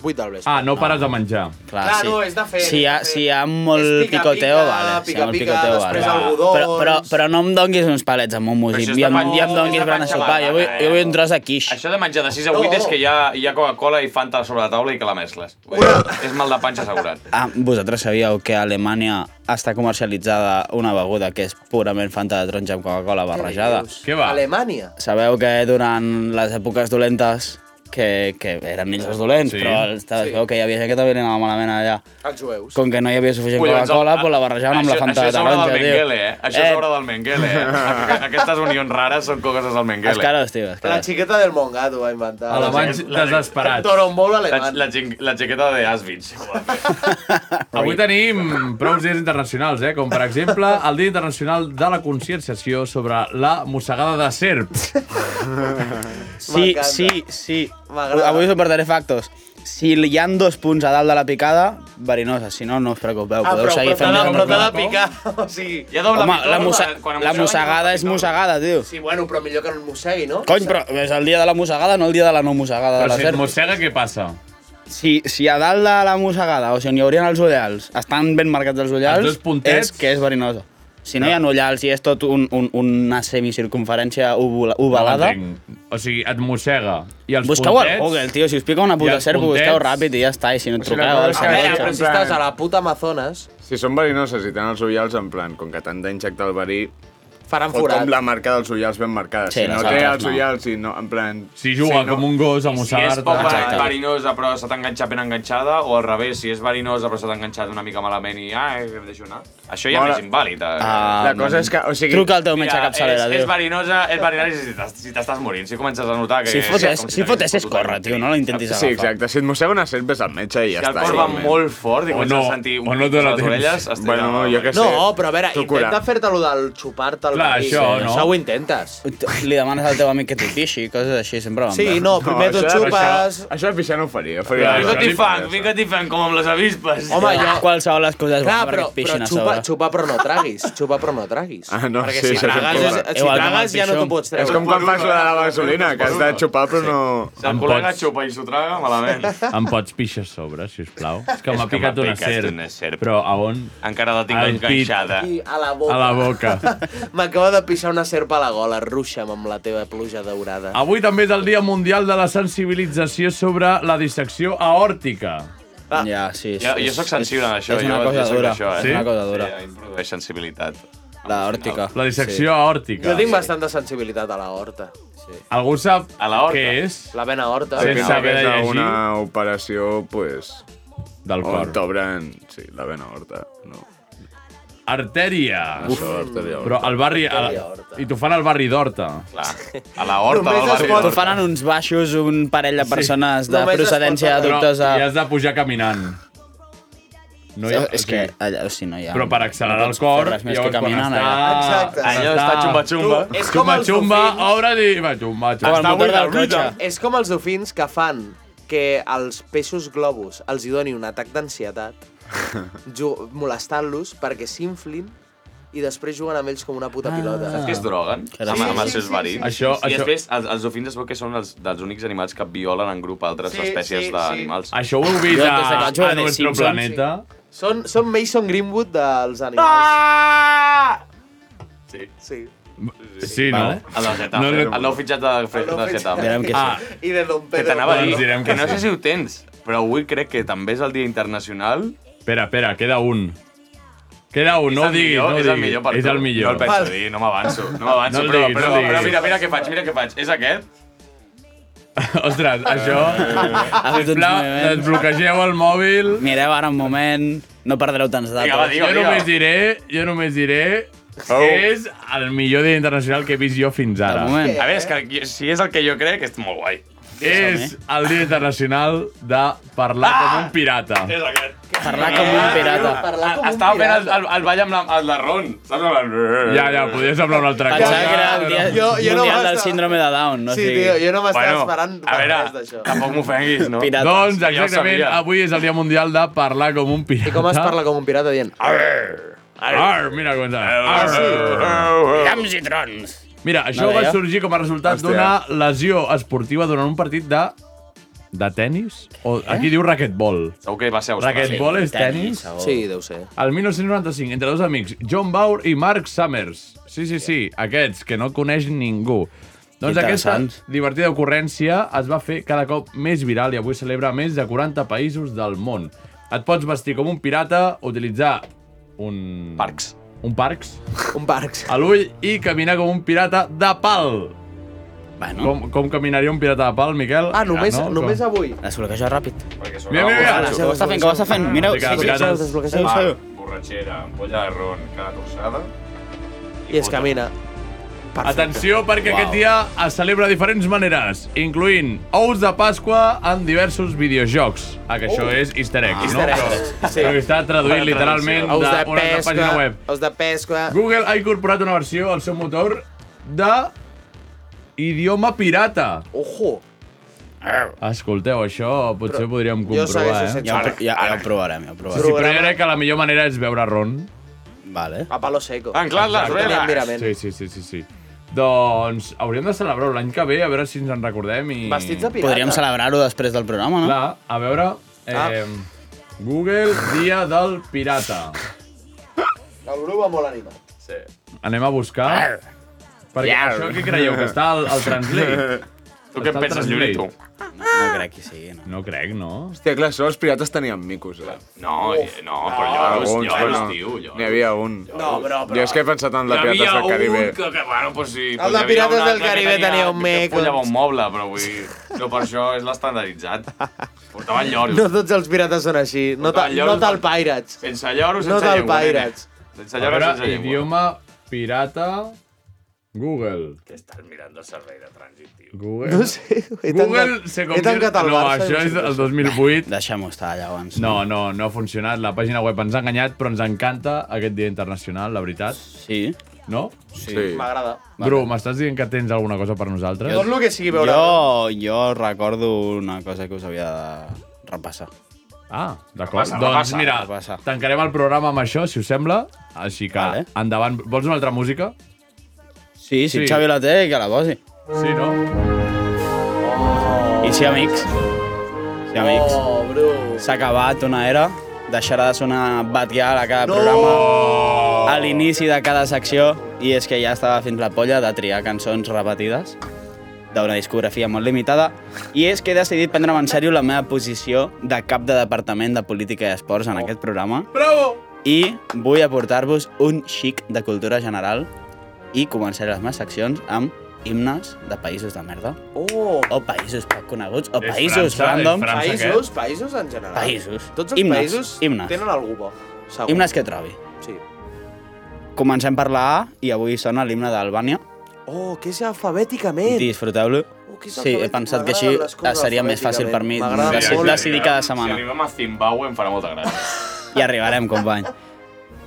8 del vespre. Ah, no pares de menjar. Clar, Clar, sí. no, és de fer- Si hi ha, si hi ha És molt pica, picoteo, pica, vale. si hi ha pica, molt pica, picoteo, després vale. algodons. Però, però, però no em donguis uns palets amb un això és músic. Ja, de em- pan- ja em és donguis de gran a panxa sopar. Jo vull, blanca, jo vull un tros de quiche. Això de menjar de 6 a 8 és que hi ha, hi ha Coca-Cola i Fanta sobre la taula i que la mescles. Vull dir, És mal de panxa assegurat. Ah, vosaltres sabíeu que a Alemanya està comercialitzada una beguda que és purament Fanta de taronja amb Coca-Cola barrejada. Què va? Alemanya. Sabeu que durant les èpoques dolentes, que, que eren ells els dolents, Sí. sí. però els- sabeu que hi havia gent que també li anava malament allà. Els jueus. Com que no hi havia suficient doncs Collons, Coca-Cola, el- pues la barrejaven amb la això- Fanta de Això és obra taronja, del tio. Mengele, eh? Això és obra del [LAUGHS] Mengele, eh? Aquestes unions rares són coses del Mengele. Els caros, tio, els La caros. xiqueta del Mongato va inventar. desesperats. Torombolo La, alemany. la, xin- la jaqueta de Asvitz. [LAUGHS] Avui tenim prou dies internacionals, eh? Com, per exemple, el Dia Internacional de la Conscienciació sobre la mossegada de serps. Sí, M'encanta. sí, sí. M'agrada. Avui us portaré factos. Si hi han dos punts a dalt de la picada, verinosa. Si no, no us preocupeu. Ah, Podeu però, seguir però fent t'ha de, dies però t'ha de normals. picar, o sigui... Ja Home, la, mosse la mossegada és mossegada, tio. Sí, bueno, però millor que no en mossegui, no? Cony, però és el dia de la mossegada, no el dia de la no mossegada. Però de la si et serp. mossega, què passa? Si, si a dalt de la mossegada, o si on hi haurien els ullals, estan ben marcats els ullals, Els dos puntets. Ah. és que és verinosa. Si no hi ha ullals i és tot un, un, una semicircunferència ovula- ovalada... No o sigui, et mossega. I els busqueu al puntets- Google, tio, si us pica una I puta els serp, ho puntets- busqueu ràpid i ja està, i si no et truqueu... al cosa és que- 112. però si estàs a la puta Amazones... Si són verinoses i tenen els ullals, en plan, com que t'han d'injectar el verí... Faran fot forat. Com la marca dels ullals ben marcada. Sí, si no les té altres els no. ullals i no, en plan... Si juga com un gos Si a és mossegar-te. poc Exacte. verinosa però s'ha enganxat ben enganxada, o al revés, si és verinosa però s'ha enganxat una mica malament i ah, em deixo anar. Això ja Mora- és invàlid. eh? Ah, La cosa és que, o sigui- Truca al teu metge capçalera, és, tio. és verinosa, és verinosa si t'es- si t'estàs morint, si comences a notar que... Si fotes, com si fotes és córrer, tio, no l'intentis agafar. Sí, exacte. Si et mossega una serp, ves al metge i ja Si el està. cor va molt fort i O comences a no, sentir o no pit a dóna les temps. orelles, estira Bueno, la- jo què sé. No, però a veure, T'ho intenta cura. fer-te lo del xupar-te el Clar, verí. això, no? Això ho intentes. Li demanes al teu amic que t'hi pixi, coses així, sempre van bé. Sí, no, primer t'ho xupes... Això, això de pixar no ho faria. Vinga, t'hi fan, vinga, t'hi fan, com amb les avispes. Home, jo... Qualsevol les coses Clar, bones perquè però, et però pixin a xupa, sobre. xupa però no traguis. Xupa però no traguis. Ah, no, sí, Perquè si això és tragues, un problema. és- si Igual que amb tragues el ja no t'ho pixum. pots treure. És com quan fas la de la gasolina, que has de xupar però no... Si el col·lega xupa i s'ho traga, [LAUGHS] malament. Em pots pixar a sobre, si us plau? És que És m'ha que picat m'ha una picat serp. una serp. Però a on? Encara la tinc Al pit. enganxada. Aquí, a la boca. A la boca. [LAUGHS] M'acaba de pixar una serp a la gola. Ruixa'm amb la teva pluja daurada. Avui també és el Dia Mundial de la Sensibilització sobre la dissecció aòrtica. Ah. Ja, sí, sí. Jo, jo sóc sensible en això. És una jo, cosa jo sóc dura, Això, eh? és una cosa dura. Sí, a mi em produeix sensibilitat. La òrtica. La dissecció aòrtica. Jo tinc bastant de sensibilitat a la horta. Sí. Algú sap què és? La vena horta. Sense haver de Ah, llegir. Una operació, pues... Del cor. On t'obren, sí, la vena horta. No. Artèria. Uf. Això, artèria Però al barri... A la... Artèria I t'ho fan al barri d'Horta. Clar. A la T'ho fan en uns baixos un parell de persones de procedència dubtosa. I has de pujar caminant. No hi ha, és que allà, o sigui, no hi ha... Però per accelerar no el pots cor, fer res més llavors que quan caminar, està... Exacte. Allò està xumba-xumba. Tu, és com Xumba, els xumba, oh. dofins. obre i va, xumba, xumba. És com els dofins que fan que els peixos globus els hi doni un atac d'ansietat ju- molestant-los perquè s'inflin i després juguen amb ells com una puta pilota. Saps que es droguen? Sí, Amb, amb els sí, seus sí, verins. sí, sí. Això- I això- després els, els dofins es veu que són els, dels únics animals que violen en grup altres Sí, espècies sí, d'animals. Això ho heu vist a, a Nuestro Planeta? Són, són Mason Greenwood dels Ah! animals. Sí. Sí. Sí, no? Vale. El del Getafe. No, no. El nou fitxat de, de, de Getafe. Direm que sí. Ah. I de Don Que Pedro. t'anava a dir, Doncs direm que, que no sé sí. si ho tens, però avui crec que també és el Dia Internacional. Espera, espera, queda un. Queda És un, no ho el diguis, millor, no ho és el diguis. millor per és tu. el millor. No el penso dir, no m'avanço, no m'avanço, el però, diguis, però, no el però, diguis. mira, mira què faig, mira què faig. És aquest? Ostres, això... Ha fet uns Ah. Sisplau, moviments. desbloquegeu el mòbil. doncs, Mireu ara un moment, no perdreu tants datos. jo només diré, jo només diré Oh. que és el millor dia internacional que he vist jo fins ara. A veure, és que jo- si és el que jo crec, és molt guai. És el dia internacional de parlar Ah! com un pirata. És aquest. Parlar com un pirata. Parlar com Estava fent el, el, el ball amb la, el de Ron. Saps? eh, Amb la- Ja, ja, podria semblar una altra Pensava que era el dia Jo- jo no mundial del m'estava- síndrome de Down. No Sí, sigui... tio, jo no m'estava esperant a veure, res d'això. Tampoc m'ofenguis, no? Pirates. Doncs Ja ho exactament, sabia. avui és el dia mundial de parlar com un pirata. I com es parla com un pirata dient... "Ah, Ar, mira com Eh, està. Llamps i trons. Mira, això No va deia? sorgir com a resultat d'una lesió esportiva durant un partit de... de tennis? O Eh? aquí diu raquetbol. Segur que va ser Austràlia. Raquetbol és tenis? Sí, deu ser. El 1995, entre dos amics, John Baur i Mark Summers. Sí, sí, sí, aquests, que no coneix ningú. Doncs aquesta Interessants. divertida ocurrència es va fer cada cop més viral i avui celebra més de 40 països del món. Et pots vestir com un pirata, utilitzar un... Parcs. Un parcs. Un parcs. A l'ull i caminar com un pirata de pal. Bueno. Com, com caminaria un pirata de pal, Miquel? Ah, només, Ja, no? només Com? avui. Desbloqueja ràpid. Mira, mira, mira. Ho està fent, que ho està fent. Mireu, Vinga, pirates. Ah, borratxera, ampolla de ron, cada torçada. I es camina. Atenció, perquè aquest dia es celebra de diferents maneres, incloent ous de Pasqua en diversos videojocs. Ah, que això Oh. és easter egg, no? Easter eggs, Però, sí. però que està traduït Bona literalment traducció. Ous d'una de altra pesca, pàgina web. Ous de pesca... Google ha incorporat una versió al seu motor de idioma pirata. Ojo! Escolteu, això potser ho podríem jo comprovar, segueixo eh? sense- Ja ho- Ja, ja ho provarem, ja ho provarem. Sí, sí, però jo crec que la millor manera és beure ron. Vale. A palo seco. Ah, Anclat les Exacte. veles. Mirament. Sí, sí, sí, sí, sí. Doncs hauríem de celebrar-ho l'any que ve, a veure si ens en recordem. I... Podríem celebrar-ho després del programa, no? Clar, a veure... Eh, Google, dia del pirata. El grup va molt animat. Sí. Anem a buscar... Perquè Arr. això què creieu? Que està al, al Translate? [LAUGHS] Tu què Està al penses, Translate? Juli, tu? No crec que sigui, no. No crec, no? Hòstia, clar, això els pirates tenien micos, eh? No, eh, no, però lloros, alguns, lloros, bueno, tio, lloros. N'hi havia un. No, però- però- Jo és que he pensat en la Pirates del Caribe. Hi havia un que, que bueno, pues sí. El de Pirates del Caribe tenia un mec. mec. Que follava un moble, però vull dir... No, per això és [LAUGHS] l'estandarditzat. Portava lloros. No tots els pirates són així. No, ta, Portaven lloros no te'l Pirates. Sense lloros, No sense te'l llengua, nene. Pirates. Sense lloros, a sense veure, llengua. idioma pirata... Google. Que estàs mirant el servei de trànsit, tio. Google. No sé, [LAUGHS] he tancat- Google se he convierte... tancat el No, Barça i això no sé és què el és. 2008. Deixem-ho estar, llavors. No, no, no ha funcionat. La pàgina web ens ha enganyat, però ens encanta aquest dia internacional, la veritat. Sí. No? Sí. M'agrada. Bru, m'estàs dient que tens alguna cosa per nosaltres? Jo, jo recordo una cosa que us havia de repassar. Ah, D'acord, Repassa, doncs repassa, mira, repassa. tancarem el programa amb això, si us sembla. Així que, vale. endavant. Vols una altra música? Sí, si sí. Xavi la té, que la posi. Sí, no? I sí, amics. Sí, amics. Oh, bro. S'ha acabat una era. Deixarà de sonar Batgirl a cada no. programa. A l'inici de cada secció. I és que ja estava fins la polla de triar cançons repetides d'una discografia molt limitada. I és que he decidit prendre-me en sèrio la meva posició de cap de Departament de Política i Esports en aquest programa. Bravo! I vull aportar-vos un xic de cultura general i començaré les meves seccions amb himnes de països de merda. Oh. O països poc coneguts, o És països França, és random. França, Països, aquest. països en general. Països. Tots els himnes, països himnes. tenen algú bo. Segur. Himnes que trobi. Sí. Comencem per la A i avui sona l'himne d'Albània. Oh, que és alfabèticament. Oh, Disfruteu-lo. que és sí, he alfabètic, pensat que m'agraden així les coses seria més fàcil per mi alfabèticament, m'agrada decidir, molt. decidir cada Si setmana. arribem a Zimbabue em farà molta gràcia. Hi arribarem, company.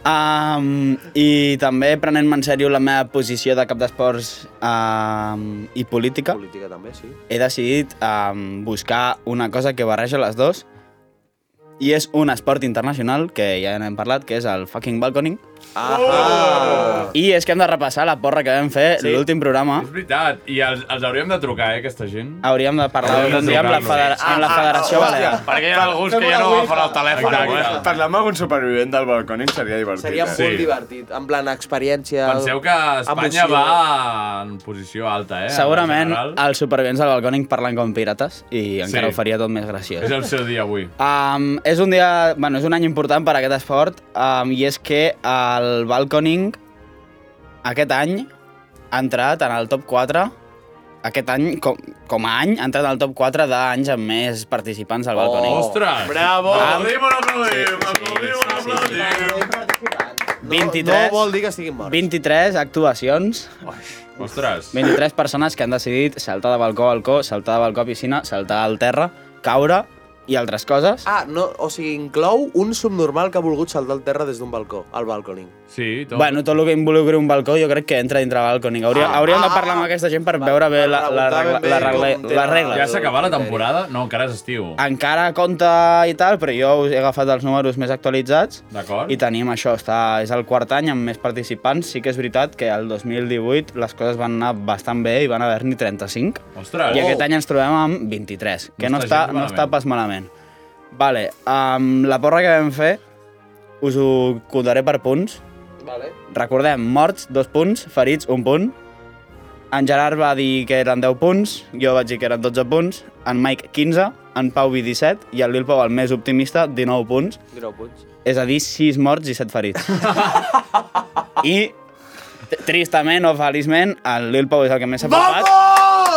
Um, I també prenent-me en sèrio la meva posició de cap d'esports um, i política, Política també, sí. he decidit um, buscar una cosa que barreja les dues i és un esport internacional que ja n'hem parlat, que és el fucking balconing. Ah! I és que hem de repassar la porra que vam fer sí. l'últim programa. És veritat, i els, els hauríem de trucar, eh, aquesta gent. Hauríem de parlar Hauríem de un dia amb la, federa trucar-los. amb la Federació Ah, ah, Balear. hòstia, perquè hi ha alguns que ja no agafen el telèfon, eh? Parlar amb algun supervivent del balcó seria divertit. Oh, Seria molt eh? divertit, en plan experiència... Penseu que Espanya emoció. va en posició alta, eh? en Segurament general. els supervivents del Balcònic parlen com pirates i encara ho faria tot més graciós. És el seu dia avui. Um, és un dia, bueno, és un any important per a aquest esport um, i és que el Balconing aquest any ha entrat en el top 4 aquest any, com, com a any, ha entrat en el top 4 d'anys amb més participants al Balconing. Ostres! Oh. Bravo! Aplaudim, un aplaudim, aplaudim, un aplaudim! 23, No vol dir que estiguin morts. 23 actuacions. Ostres! 23 persones que han decidit saltar de balcó a balcó, saltar de balcó a piscina, saltar al terra, caure i altres coses. Ah, no, o sigui, inclou un subnormal que ha volgut saltar al terra des d'un balcó, al balconing. Sí, Tot. Bueno, tot el que involucri un balcó jo crec que entra dintre del balcònic. Hauria, ah, hauríem de parlar amb aquesta gent per veure bé la, la, regla, la, regla, la regla. Ja s'ha acabat la temporada? No, encara és estiu. Encara compta i tal, però jo us he agafat els números més actualitzats D'acord. i tenim això, està, és el quart any amb més participants. Sí que és veritat que el 2018 les coses van anar bastant bé i van haver-n'hi 35. Ostres. I Oh. aquest any ens trobem amb 23, que no, No està està, gens no malament. està pas malament. Vale, um, la porra que vam fer us ho contaré per punts. Vale. Recordem, morts, dos punts, ferits, un punt. En Gerard va dir que eren 10 punts, jo vaig dir que eren 12 punts, en Mike 15, en Pau vi 17 i el Lil Pau, el més optimista, 19 punts. 19 punts. És a dir, 6 morts i 7 ferits. I, t- tristament o feliçment, el Lil Pau és el que més s'ha papat.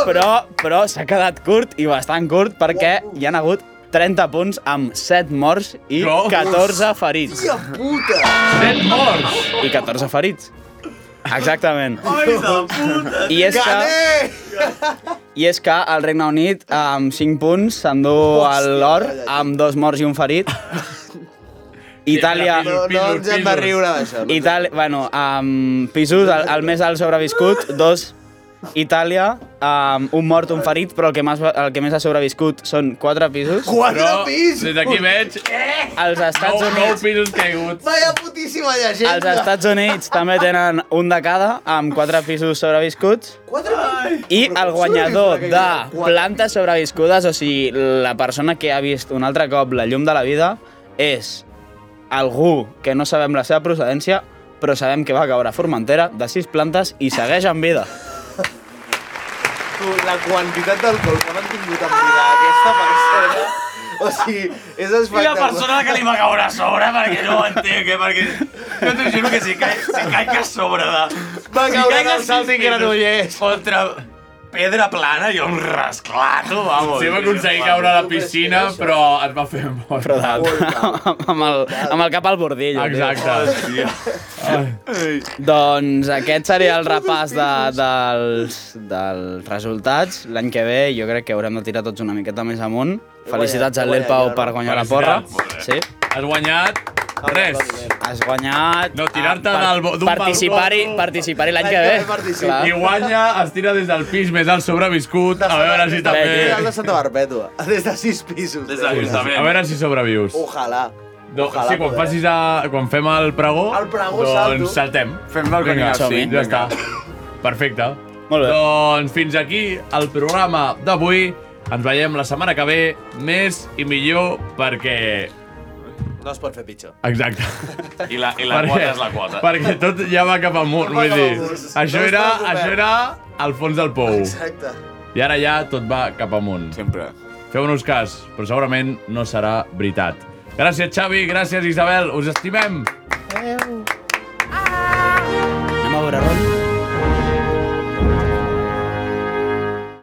Però, però s'ha quedat curt i bastant curt perquè hi han hagut 30 punts amb 7 morts i Jo? 14 ferits. Hòstia puta! 7 morts! I 14 ferits. Exactament. puta! I és que- I és que el Regne Unit, amb 5 punts, s'endú el l'or amb dos morts i un ferit. Itàlia... No, no ens hem de riure d'això. No? Itàlia, bueno, amb pisos, el, el més alt sobreviscut, dos. Itàlia, amb un mort, un ferit, però el que més, el que més ha sobreviscut són quatre pisos. Però, Des d'aquí veig... Els Estats nou, Units. Nou pisos caiguts. Vaya putíssima llegenda! Els Estats Units també tenen un de cada, amb quatre pisos sobreviscuts. Quatre I el guanyador de plantes sobreviscudes, o sigui, la persona que ha vist un altre cop la llum de la vida, és algú que no sabem la seva procedència, però sabem que va caure a Formentera de sis plantes i segueix en vida. La quantitat d'alcohol que m'han tingut en vida aquesta persona... O sigui, I és la espectacular. persona que li va caure a sobre, perquè no ho entenc, eh? Perquè jo t'ho juro que si caic, si caic a sobre de... Va si caure caic a del salt sis i Granollers. metres Contra pedra plana, jo em rasclato, vamos. Sí, va aconseguir caure a la piscina, però es va fer mort. Però de, amb, el, amb el cap al bordell. tio. oh, Exacte. Hòstia. Doncs aquest seria el repàs de, dels, dels resultats. L'any que ve jo crec que haurem de tirar tots una miqueta més amunt. Felicitats a guanyat, l'El Pau guanyat. per guanyar la porra. Felicitats. Sí. Has guanyat res. Has guanyat... No, tirar-te Ah, del bo- d'un participar-hi participar l'any que ve. Clar. I guanya, es tira des del pis més alt sobreviscut, a veure si Des de també... Santa Barbètua, des de sis pisos. Eh. Des A veure si sobrevius. Ojalà. No, Ojalà sí, quan, poder. facis a, quan fem el pregó, El pregó salto. doncs saltem. Fem el Vinga, Conigat, sí, ja sí, vinga. està. Perfecte. Molt bé. Doncs fins aquí el programa d'avui. Ens veiem la setmana que ve, més i millor, perquè... No es pot fer pitjor. Exacte. I la, i la quota és la quota. Perquè tot ja va cap amunt, Tot va vull cap dir. amunt. Això Tot era, està cobert. això era al fons del pou. Exacte. I ara ja tot va cap amunt. Sempre. Feu-nos cas, però segurament no serà veritat. Gràcies, Xavi, gràcies, Isabel. Us estimem.